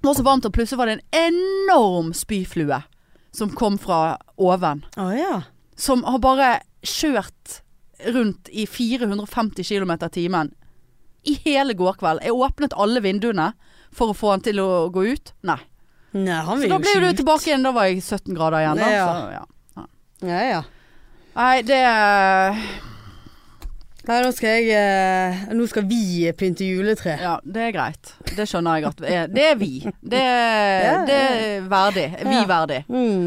Det var så varmt, og plutselig var det en enorm spyflue som kom fra oven.
Å ja.
Som har bare kjørt rundt i 450 km i timen i hele går kveld. Jeg åpnet alle vinduene for å få han til å gå ut. Nei.
Nei, han
Så
vil
da
jo
ble
ikke
du
ut.
tilbake igjen. Da var jeg 17 grader igjen. Da.
Ja.
Så, ja.
Ja, ja.
Nei, det
Nei, nå skal jeg eh, Nå skal vi pynte juletre.
Ja, det er greit. Det skjønner jeg at vi er. Det er vi. Det, det er verdig. Vi
Ja.
verdig.
Mm.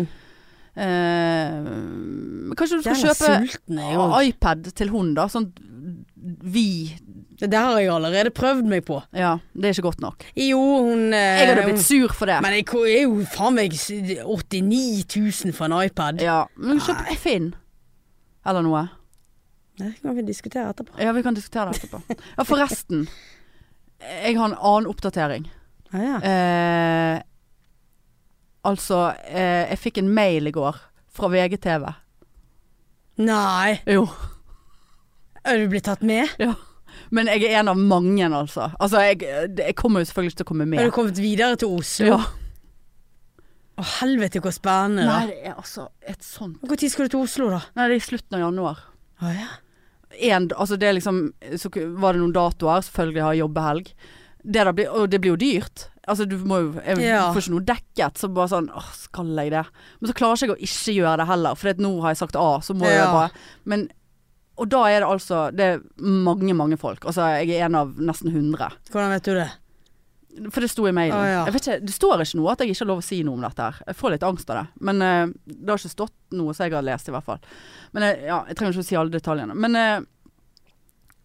Eh, kanskje du skal
Jeg er
kjøpe
sulten, jeg òg.
iPad til hun, da. Sånn vi
Det der har jeg allerede prøvd meg på.
Ja, det er ikke godt nok.
Jo, hun eh,
Jeg hadde blitt sur for det.
Men jeg ko- er jo faen meg s- 89 000 for en iPad.
Ja, men kjøp Finn. Eller noe.
Det kan vi diskutere etterpå.
Ja, vi kan diskutere det etterpå. Ja, forresten. Jeg har en annen oppdatering.
Ja, ja.
Eh, altså, eh, jeg fikk en mail i går fra VGTV.
Nei,
Jo.
er du blitt tatt med?
Men jeg er en av mange, altså. Altså, jeg, jeg kommer jo selvfølgelig ikke til å komme
Har du
med.
kommet videre til Oslo?
Ja.
Å helvete, hvor spennende. da.
Nei, det er altså et sånt
Når skal du til Oslo, da?
Nei, det er i slutten av januar.
Å ja.
En, altså det er liksom Så var det noen datoer, selvfølgelig har jeg jobbehelg. Det da blir, og det blir jo dyrt. Altså du må jo Jeg
Ja.
får ikke noe dekket, så bare sånn Åh, skal jeg det? Men så klarer ikke jeg å ikke gjøre det heller, for nå har jeg sagt A, så må jeg
Ja.
bare Men Og da er det altså Det er mange, mange folk. Altså jeg er en av nesten 100.
Hvordan vet du det?
For det sto i mailen.
Å, ja.
jeg vet ikke, det står ikke noe at jeg ikke har lov å si noe om dette her. Jeg får litt angst av det. Men eh, det har ikke stått noe som jeg har lest, i hvert fall. Men eh, ja, jeg trenger ikke å si alle detaljene. Men eh,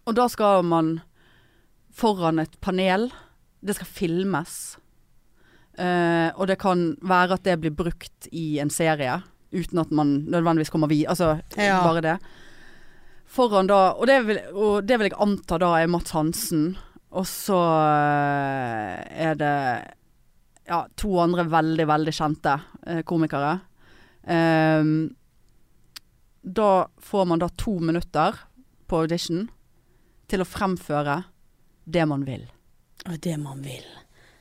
Og da skal man foran et panel. Det skal filmes. Eh, og det kan være at det blir brukt i en serie, uten at man nødvendigvis kommer videre. Altså
Ja.
bare det. Foran da og det, vil, og det vil jeg anta da er Mats Hansen. Og så eh, er det ja, to andre veldig, veldig kjente eh, komikere. Ehm, da får man da to minutter på audition til å fremføre det man vil.
Å, det man vil.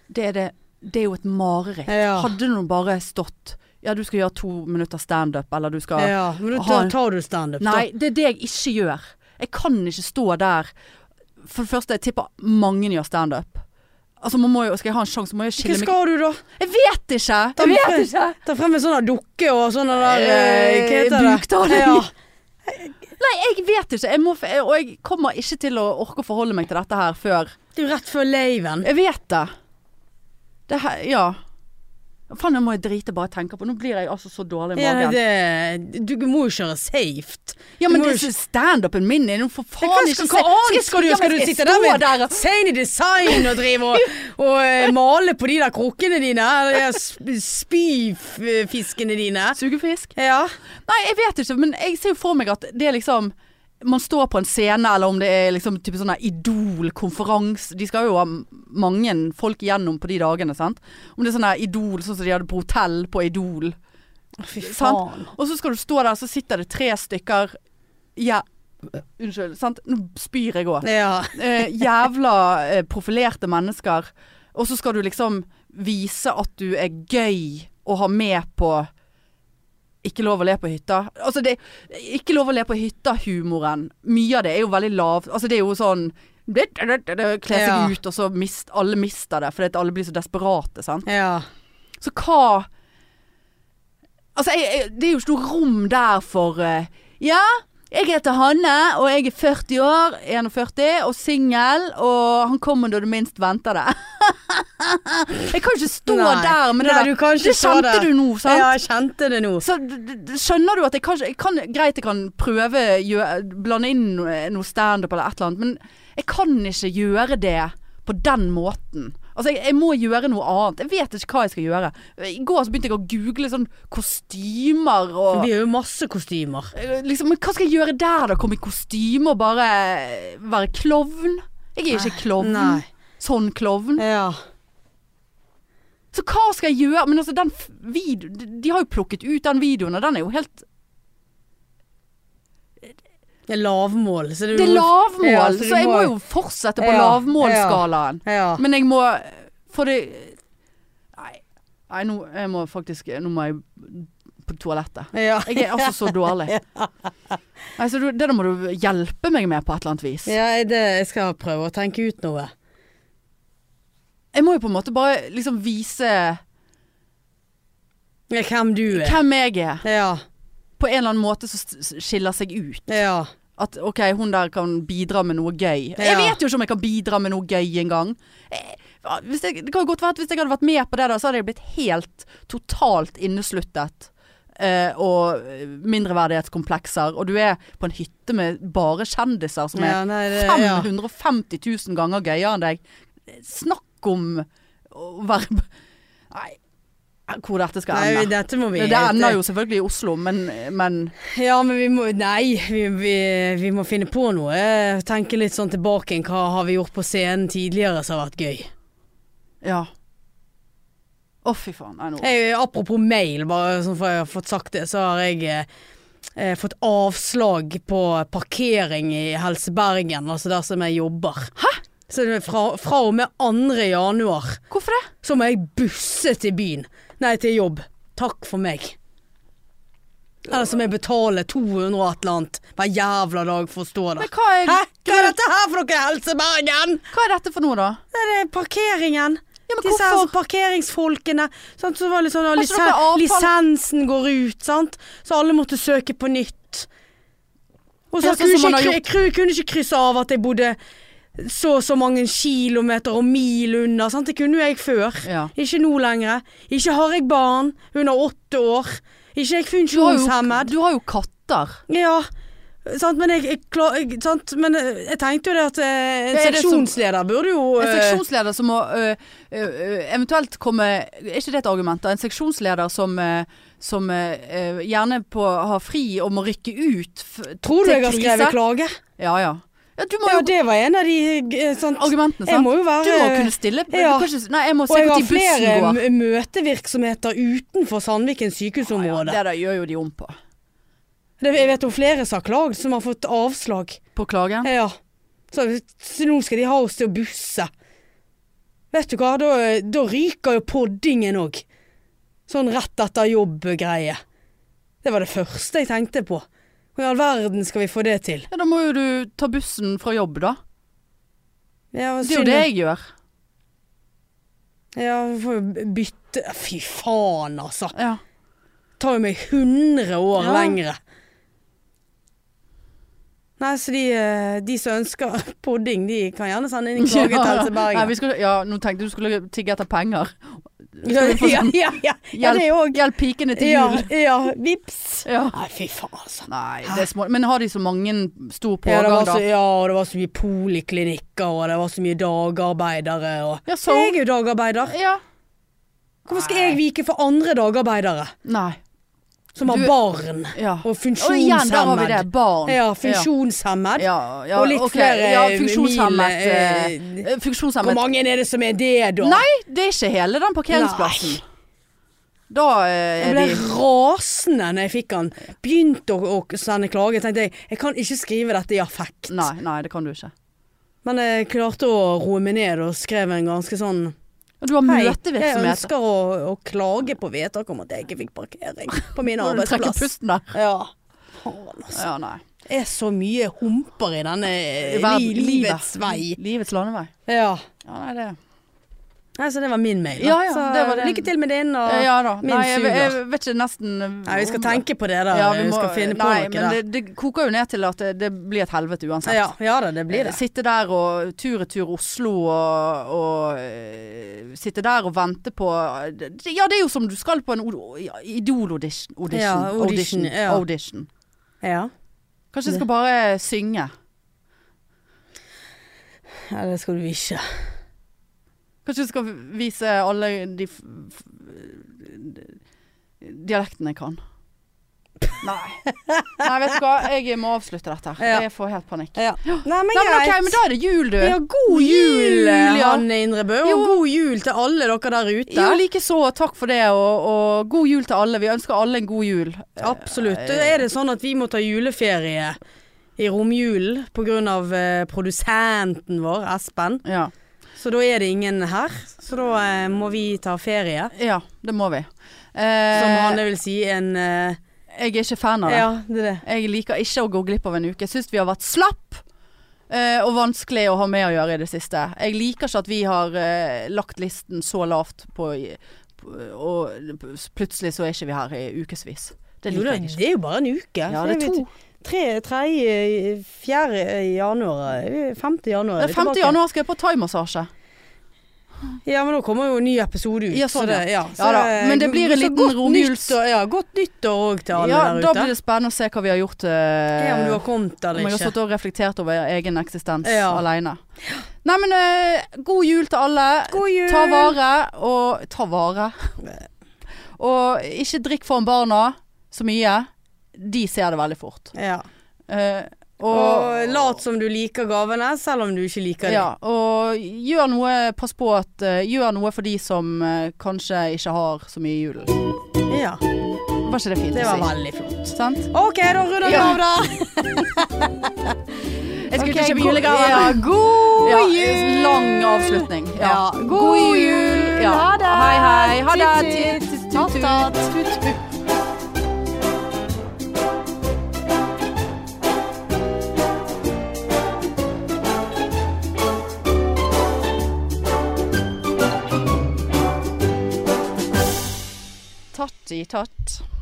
Det er, det, det er jo et mareritt.
Ja.
Hadde det nå bare stått Ja, du skal gjøre to minutter standup, eller du skal
ja. Men da
Har-
tar, tar du standup, da.
Nei, det er det jeg ikke gjør. Jeg kan ikke stå der For det første, jeg tipper mange gjør standup. Altså, man må jo, skal jeg ha en sjanse, må jeg
Hva
skille meg
skal du, da?
Jeg vet ikke!
Ta
Jeg vet
frem-
ikke!
Ta frem en sånn dukke og sånn der eh, Hva
Eh,
heter det?
buktaling.
Ja.
Nei, jeg vet ikke. Jeg må, f- og jeg kommer ikke til å orke å forholde meg til dette her før
Det er jo rett før laven.
Jeg vet det. Det her Ja. Faen, nå må jeg drite bare jeg tenker på. Nå blir jeg altså så dårlig i
Ja,
magen.
det, du må jo kjøre safe.
Ja, men
Du må jo
det- standupen min er jo for
Det
faen
kan-
ikke
hva
se-
annet skal du,
Ja,
skal
men
du
jeg
sitte
står
der med
der og-
Sane design og drive og, og eh, male på de der krukkene dine? eller sp- Spyfiskene dine?
Sugefisk?
Ja.
Nei, jeg vet ikke, men jeg ser jo for meg at det er liksom man står på en scene, eller om det er liksom type sånn her Idol-konferanse De skal jo ha mange folk igjennom på de dagene, sant. Om det er sånn her Idol, sånn som de hadde på hotell på Idol.
Fy
faen. Og så skal du stå der, så sitter det tre stykker Ja, unnskyld. Sant? Nå spyr jeg òg.
Ja.
Eh, jævla eh, profilerte mennesker. Og så skal du liksom vise at du er gøy å ha med på ikke lov å le på hytta. Altså det, ikke lov å le på hytta-humoren. Mye av det er jo veldig lav. Altså det er jo sånn Kle seg
Ja.
ut, og så mist, alle mister det fordi at alle blir så desperate. Sant?
ja.
Så hva Altså, jeg, jeg, det er jo ikke noe rom der for eh, Ja, jeg heter Hanne, og jeg er 40 år, 41, og singel, og han kommer når du minst venter det. jeg kan ikke stå
Nei.
der med det
Nei,
der.
du kan ikke
det
stå
kjente
der.
du nå, sant?
Ja, jeg kjente det nå.
Så d- d- d- skjønner du at jeg kan, ikke- jeg kan Greit, jeg kan prøve gjø- Blande inn noe noe standup eller et eller annet Men jeg kan ikke gjøre det På den måten Altså jeg, jeg må gjøre noe annet Jeg vet ikke hva jeg skal gjøre I går så begynte jeg å google sånn kostymer og,
Vi har jo masse kostymer.
eh, liksom, Men hva skal jeg gjøre der da? Komme i kostyme og bare Være klovn Jeg er ikke klovn
Nei. Eh.
Sånn klovn
Ja.
Så hva skal jeg gjøre? Men altså, den f- video, de, de har jo plukket ut den videoen, og den er jo helt
Det er lavmål. Så det,
Det er lavmål,
Mm. Ja,
så,
du
jeg må jo fortsette på
Ja,
lavmålskalaen.
Ja.
Men jeg må For det Nei, nei nå, jeg må faktisk Nå må jeg på toalettet.
ja.
Jeg er altså så dårlig. Nei, så du, det der må du hjelpe meg med på et eller annet vis.
ja det, jeg skal prøve å tenke ut noe.
Jeg må jo på en måte bare liksom vise
Ja, Hvem du er.
hvem jeg er.
Ja.
På en eller annen måte som s- skiller seg ut.
Ja.
At ok, hun der kan bidra med noe gøy.
Ja.
Jeg vet jo ikke om jeg kan bidra med noe gøy engang. Eh, Hvis jeg, det kan jo godt være at hvis jeg hadde vært med på det, da, så hadde jeg blitt helt totalt innesluttet. Eh, og mindreverdighetskomplekser. Og du er på en hytte med bare kjendiser som
Ja,
er
nei, det- ja.
550 000 ganger gøyere enn deg. Snakk om å være Nei, hvor dette skal
Nei,
ende.
dette må vi
det, ender jo selvfølgelig i Oslo, men, men
Ja, men vi må Nei, vi, vi, vi må finne på noe. Tenke litt sånn tilbake. Hva har vi gjort på scenen tidligere som har vært gøy?
Ja. Å, fy faen. Nei, nå.
Jeg, apropos mail, bare sånn for jeg har fått sagt det, så har jeg eh, eh, fått avslag på parkering i Helse Bergen, altså der som jeg jobber. Hæ? Så det er fra, fra og med 2. januar
Hvorfor det?
så må jeg busse til byen. Nei, til jobb. Takk for meg. Eller så må jeg betale 200 og et eller annet hver jævla dag for å stå der.
Men hva er,
Hæ? Hva er dette her for noe Helse Bergen?
hva er dette for noe, da?
Det er parkeringen.
Ja, men
Disse her
hvorfor?
parkeringsfolkene. Sant? Så var det litt sånn, ja,
Har ikke dere
lisen,
avtale?
lisensen går ut, sant. Så alle måtte søke på nytt. Og så
Ja, sånn
kunne
som
ikke,
man har
kry- jeg kry- kunne ikke krysse av at jeg bodde så og så mange kilometer og mil unna. Sant? Det kunne jo jeg før.
Ja.
Ikke nå lenger. Ikke har jeg barn under åtte år. Ikke er jeg
Du har jo,
funksjonshemmet.
du har jo katter.
Ja, sant, men jeg, jeg, klar, jeg, sant, men eh, jeg tenkte jo det at eh, en
Ja, er det som-
seksjonsleder burde jo
En
eh,
seksjonsleder som må ø, ø, ø, eventuelt komme Er ikke det et argument, da? En seksjonsleder som, ø, som ø, ø, gjerne på, har fri og må rykke ut f
Tror du
til
jeg har
krise?
skrevet klage?
Ja, ja. ja du må
Ja,
jo
det var en av de eh, sant,
Argumentene,
Jeg
sant?
må jo
Du
være
må kunne stille Du
ja.
kan ikke, Nei, jeg må
Og
se
jeg
når
har
bussen
flere
går.
m- møtevirksomheter utenfor Sandviken
Ja,
sykehusområde.
det der gjør jo de om på.
Det- Jeg vet om flere som har klagd, som har fått avslag.
På klagen.
Ja. Så, så nå skal de ha oss til å busse. Vet du hva, da, da ryker jo poddingen òg. Sånn rett etter jobb-greie. Det var det første jeg tenkte på. Hvor i all verden skal vi få det til?
Ja, da må jo du ta bussen fra jobb, da.
Ja,
Det er jo det jeg gjør.
Ja, vi får jo bytte Fy faen, altså.
Ja.
Det tar jo meg 100 år
Ja.
lengre. Nei, så de, eh, de som ønsker podding, de kan gjerne sende inn en klage til Helse
Nei,
Bergen.
vi skulle, ja, nå tenkte jeg du skulle tigge etter penger.
Ja,
Skal vi få
ja,
sånn
ja, ja. ja, det òg.
Hjelp pikene til
Ja,
jul.
ja, vips.
Ja.
Nei, fy faen, altså.
Nei, det er små. Men har de så mange stor
Ja, det
pågang,
var
da?
så, ja, og det var så mye poliklinikker, og det var så mye dagarbeidere. Og...
Ja, så-
Jeg er jo dagarbeider.
Ja.
Hvorfor skal jeg vike for andre dagarbeidere
Nei.
som har
Du-
barn
Ja.
og
Og igjen, der har vi det.
funksjonshemmed?
Barn.
Ja, funksjonshemmed.
Ja, ja,
Og litt
ok.
flere eh,
ja,
mil,
funksjonshemmet.
eh,
eh,
Hvor
funksjonshemmet.
mange er det som er det, da?
Nei, det er ikke hele den parkeringsplassen. Da eh,
Jeg
er
ble
de
rasende når jeg fikk han. Begynte å, å sende klage. Tenkte jeg jeg kan ikke skrive dette i affekt.
Nei, nei, det kan du ikke.
Men jeg klarte å roe meg ned og skrev en ganske sånn
Og Du har
Hei, jeg
møtevirksomhet.
ønsker å, å klage på vedtak om at jeg ikke fikk parkering på min
Nå har du trekket
arbeidsplass.
pusten der.
Ja. Faen, altså.
Ja, nei.
Det er så mye humper i denne
Verden-
Eh, li
livet.
livets vei.
Livets landevei.
Ja.
Ja, nei, det
Nei, så det var min mail. da.
Ja, ja,
så
det var det.
lykke til med din. Og...
Eh, Ja da.
Ah, min
Nei, jeg,
suger.
jeg vet ikke nesten eh,
Nei, vi skal
om-
tenke på det der.
Ja,
vi,
må-
skal finne på
nei,
noe
men
der.
det, det koker jo ned til at det, det blir et helvete uansett.
ja, ja da, det blir det.
Sitte der og tur-retur Oslo og, og eh, Sitte der og vente på det- Ja, det er jo som du skal på en o- ja, Idol-audition. Audition.
Ja, audition,
audition.
ja.
audition.
Ja.
Kanskje jeg skal bare synge.
ja, det skal du ikke.
Kanskje jeg skal vise alle de f f dialektene jeg kan. Nei. Nei, vet du hva. Jeg må avslutte dette her.
Ja.
Jeg får helt panikk.
Ja. Nei, men
Nei, men, ok,
greit.
men da er det jul, du.
Ja, god jul,
Jul, ja.
Hanne Indrebø, og
Jo.
god jul til alle dere der ute.
Jo, likeså. Takk for det, og, og god jul til alle. Vi ønsker alle en god jul.
Absolutt. Er det sånn at vi må ta juleferie i romjulen pga. Eh, produsenten vår, Espen,
Ja.
så da er det ingen her. Så da eh, må vi ta ferie.
ja, det må vi.
Som
Eh,
Hanne vil si, en eh,
jeg er ikke fan av det.
Ja, det er det.
Jeg liker ikke å gå glipp av en uke. Jeg syns vi har vært slapp eh, og vanskelig å ha med å gjøre i det siste. Jeg liker ikke at vi har eh, lagt listen så lavt på, på Og plutselig så er ikke vi her i ukevis. Det
Jo,
liker
da,
jeg ikke.
det er jo bare en uke.
Ja, det er to.
Tre, tredje, fjerde januar eh, Femte januar.
Det
er
er
vi
5.
tilbake.
januar skal jeg på thaimassasje.
Ja, men da kommer jo en ny episode ut.
Ja,
så
sånn,
det, ja. eh,
Ja da, men det blir en liten romjuls-
romjulsår. Ja, godt nyttår òg til alle
Ja,
der
da
ute.
blir det altså, spennende å se hva vi har gjort. eh,
Ja, om du har kommet
om
eller
jeg har
ikke.
sittet og reflektert over egen eksistens
Ja.
alene. Nei, men eh, god jul til alle.
God jul!
Ta vare og Ta vare. Og ikke drikk foran barna så mye. De ser det veldig fort.
Ja.
Eh,
Og, lat som du liker gavene, selv om du ikke liker dem.
ja, og gjør noe, pass på at eh, Gjør noe for de som eh, kanskje ikke har så mye i julen.
Ja,
Var ikke det fint
det var
å si?
veldig flott.
Sant?
OK, da runder vi
Ja.
av, da.
Jeg
Ok,
skulle ikke kjøpe
god-
julegaver.
Ja, god
Ja,
jul!
Lang avslutning.
Ja.
God,
God
jul!
jul.
Ja.
Ha det.
Hei, hei. Ha det.
Tut,
Tut, tut,
Tatt,
tut.
tatt.
Tut, tut. Tatt i tatt.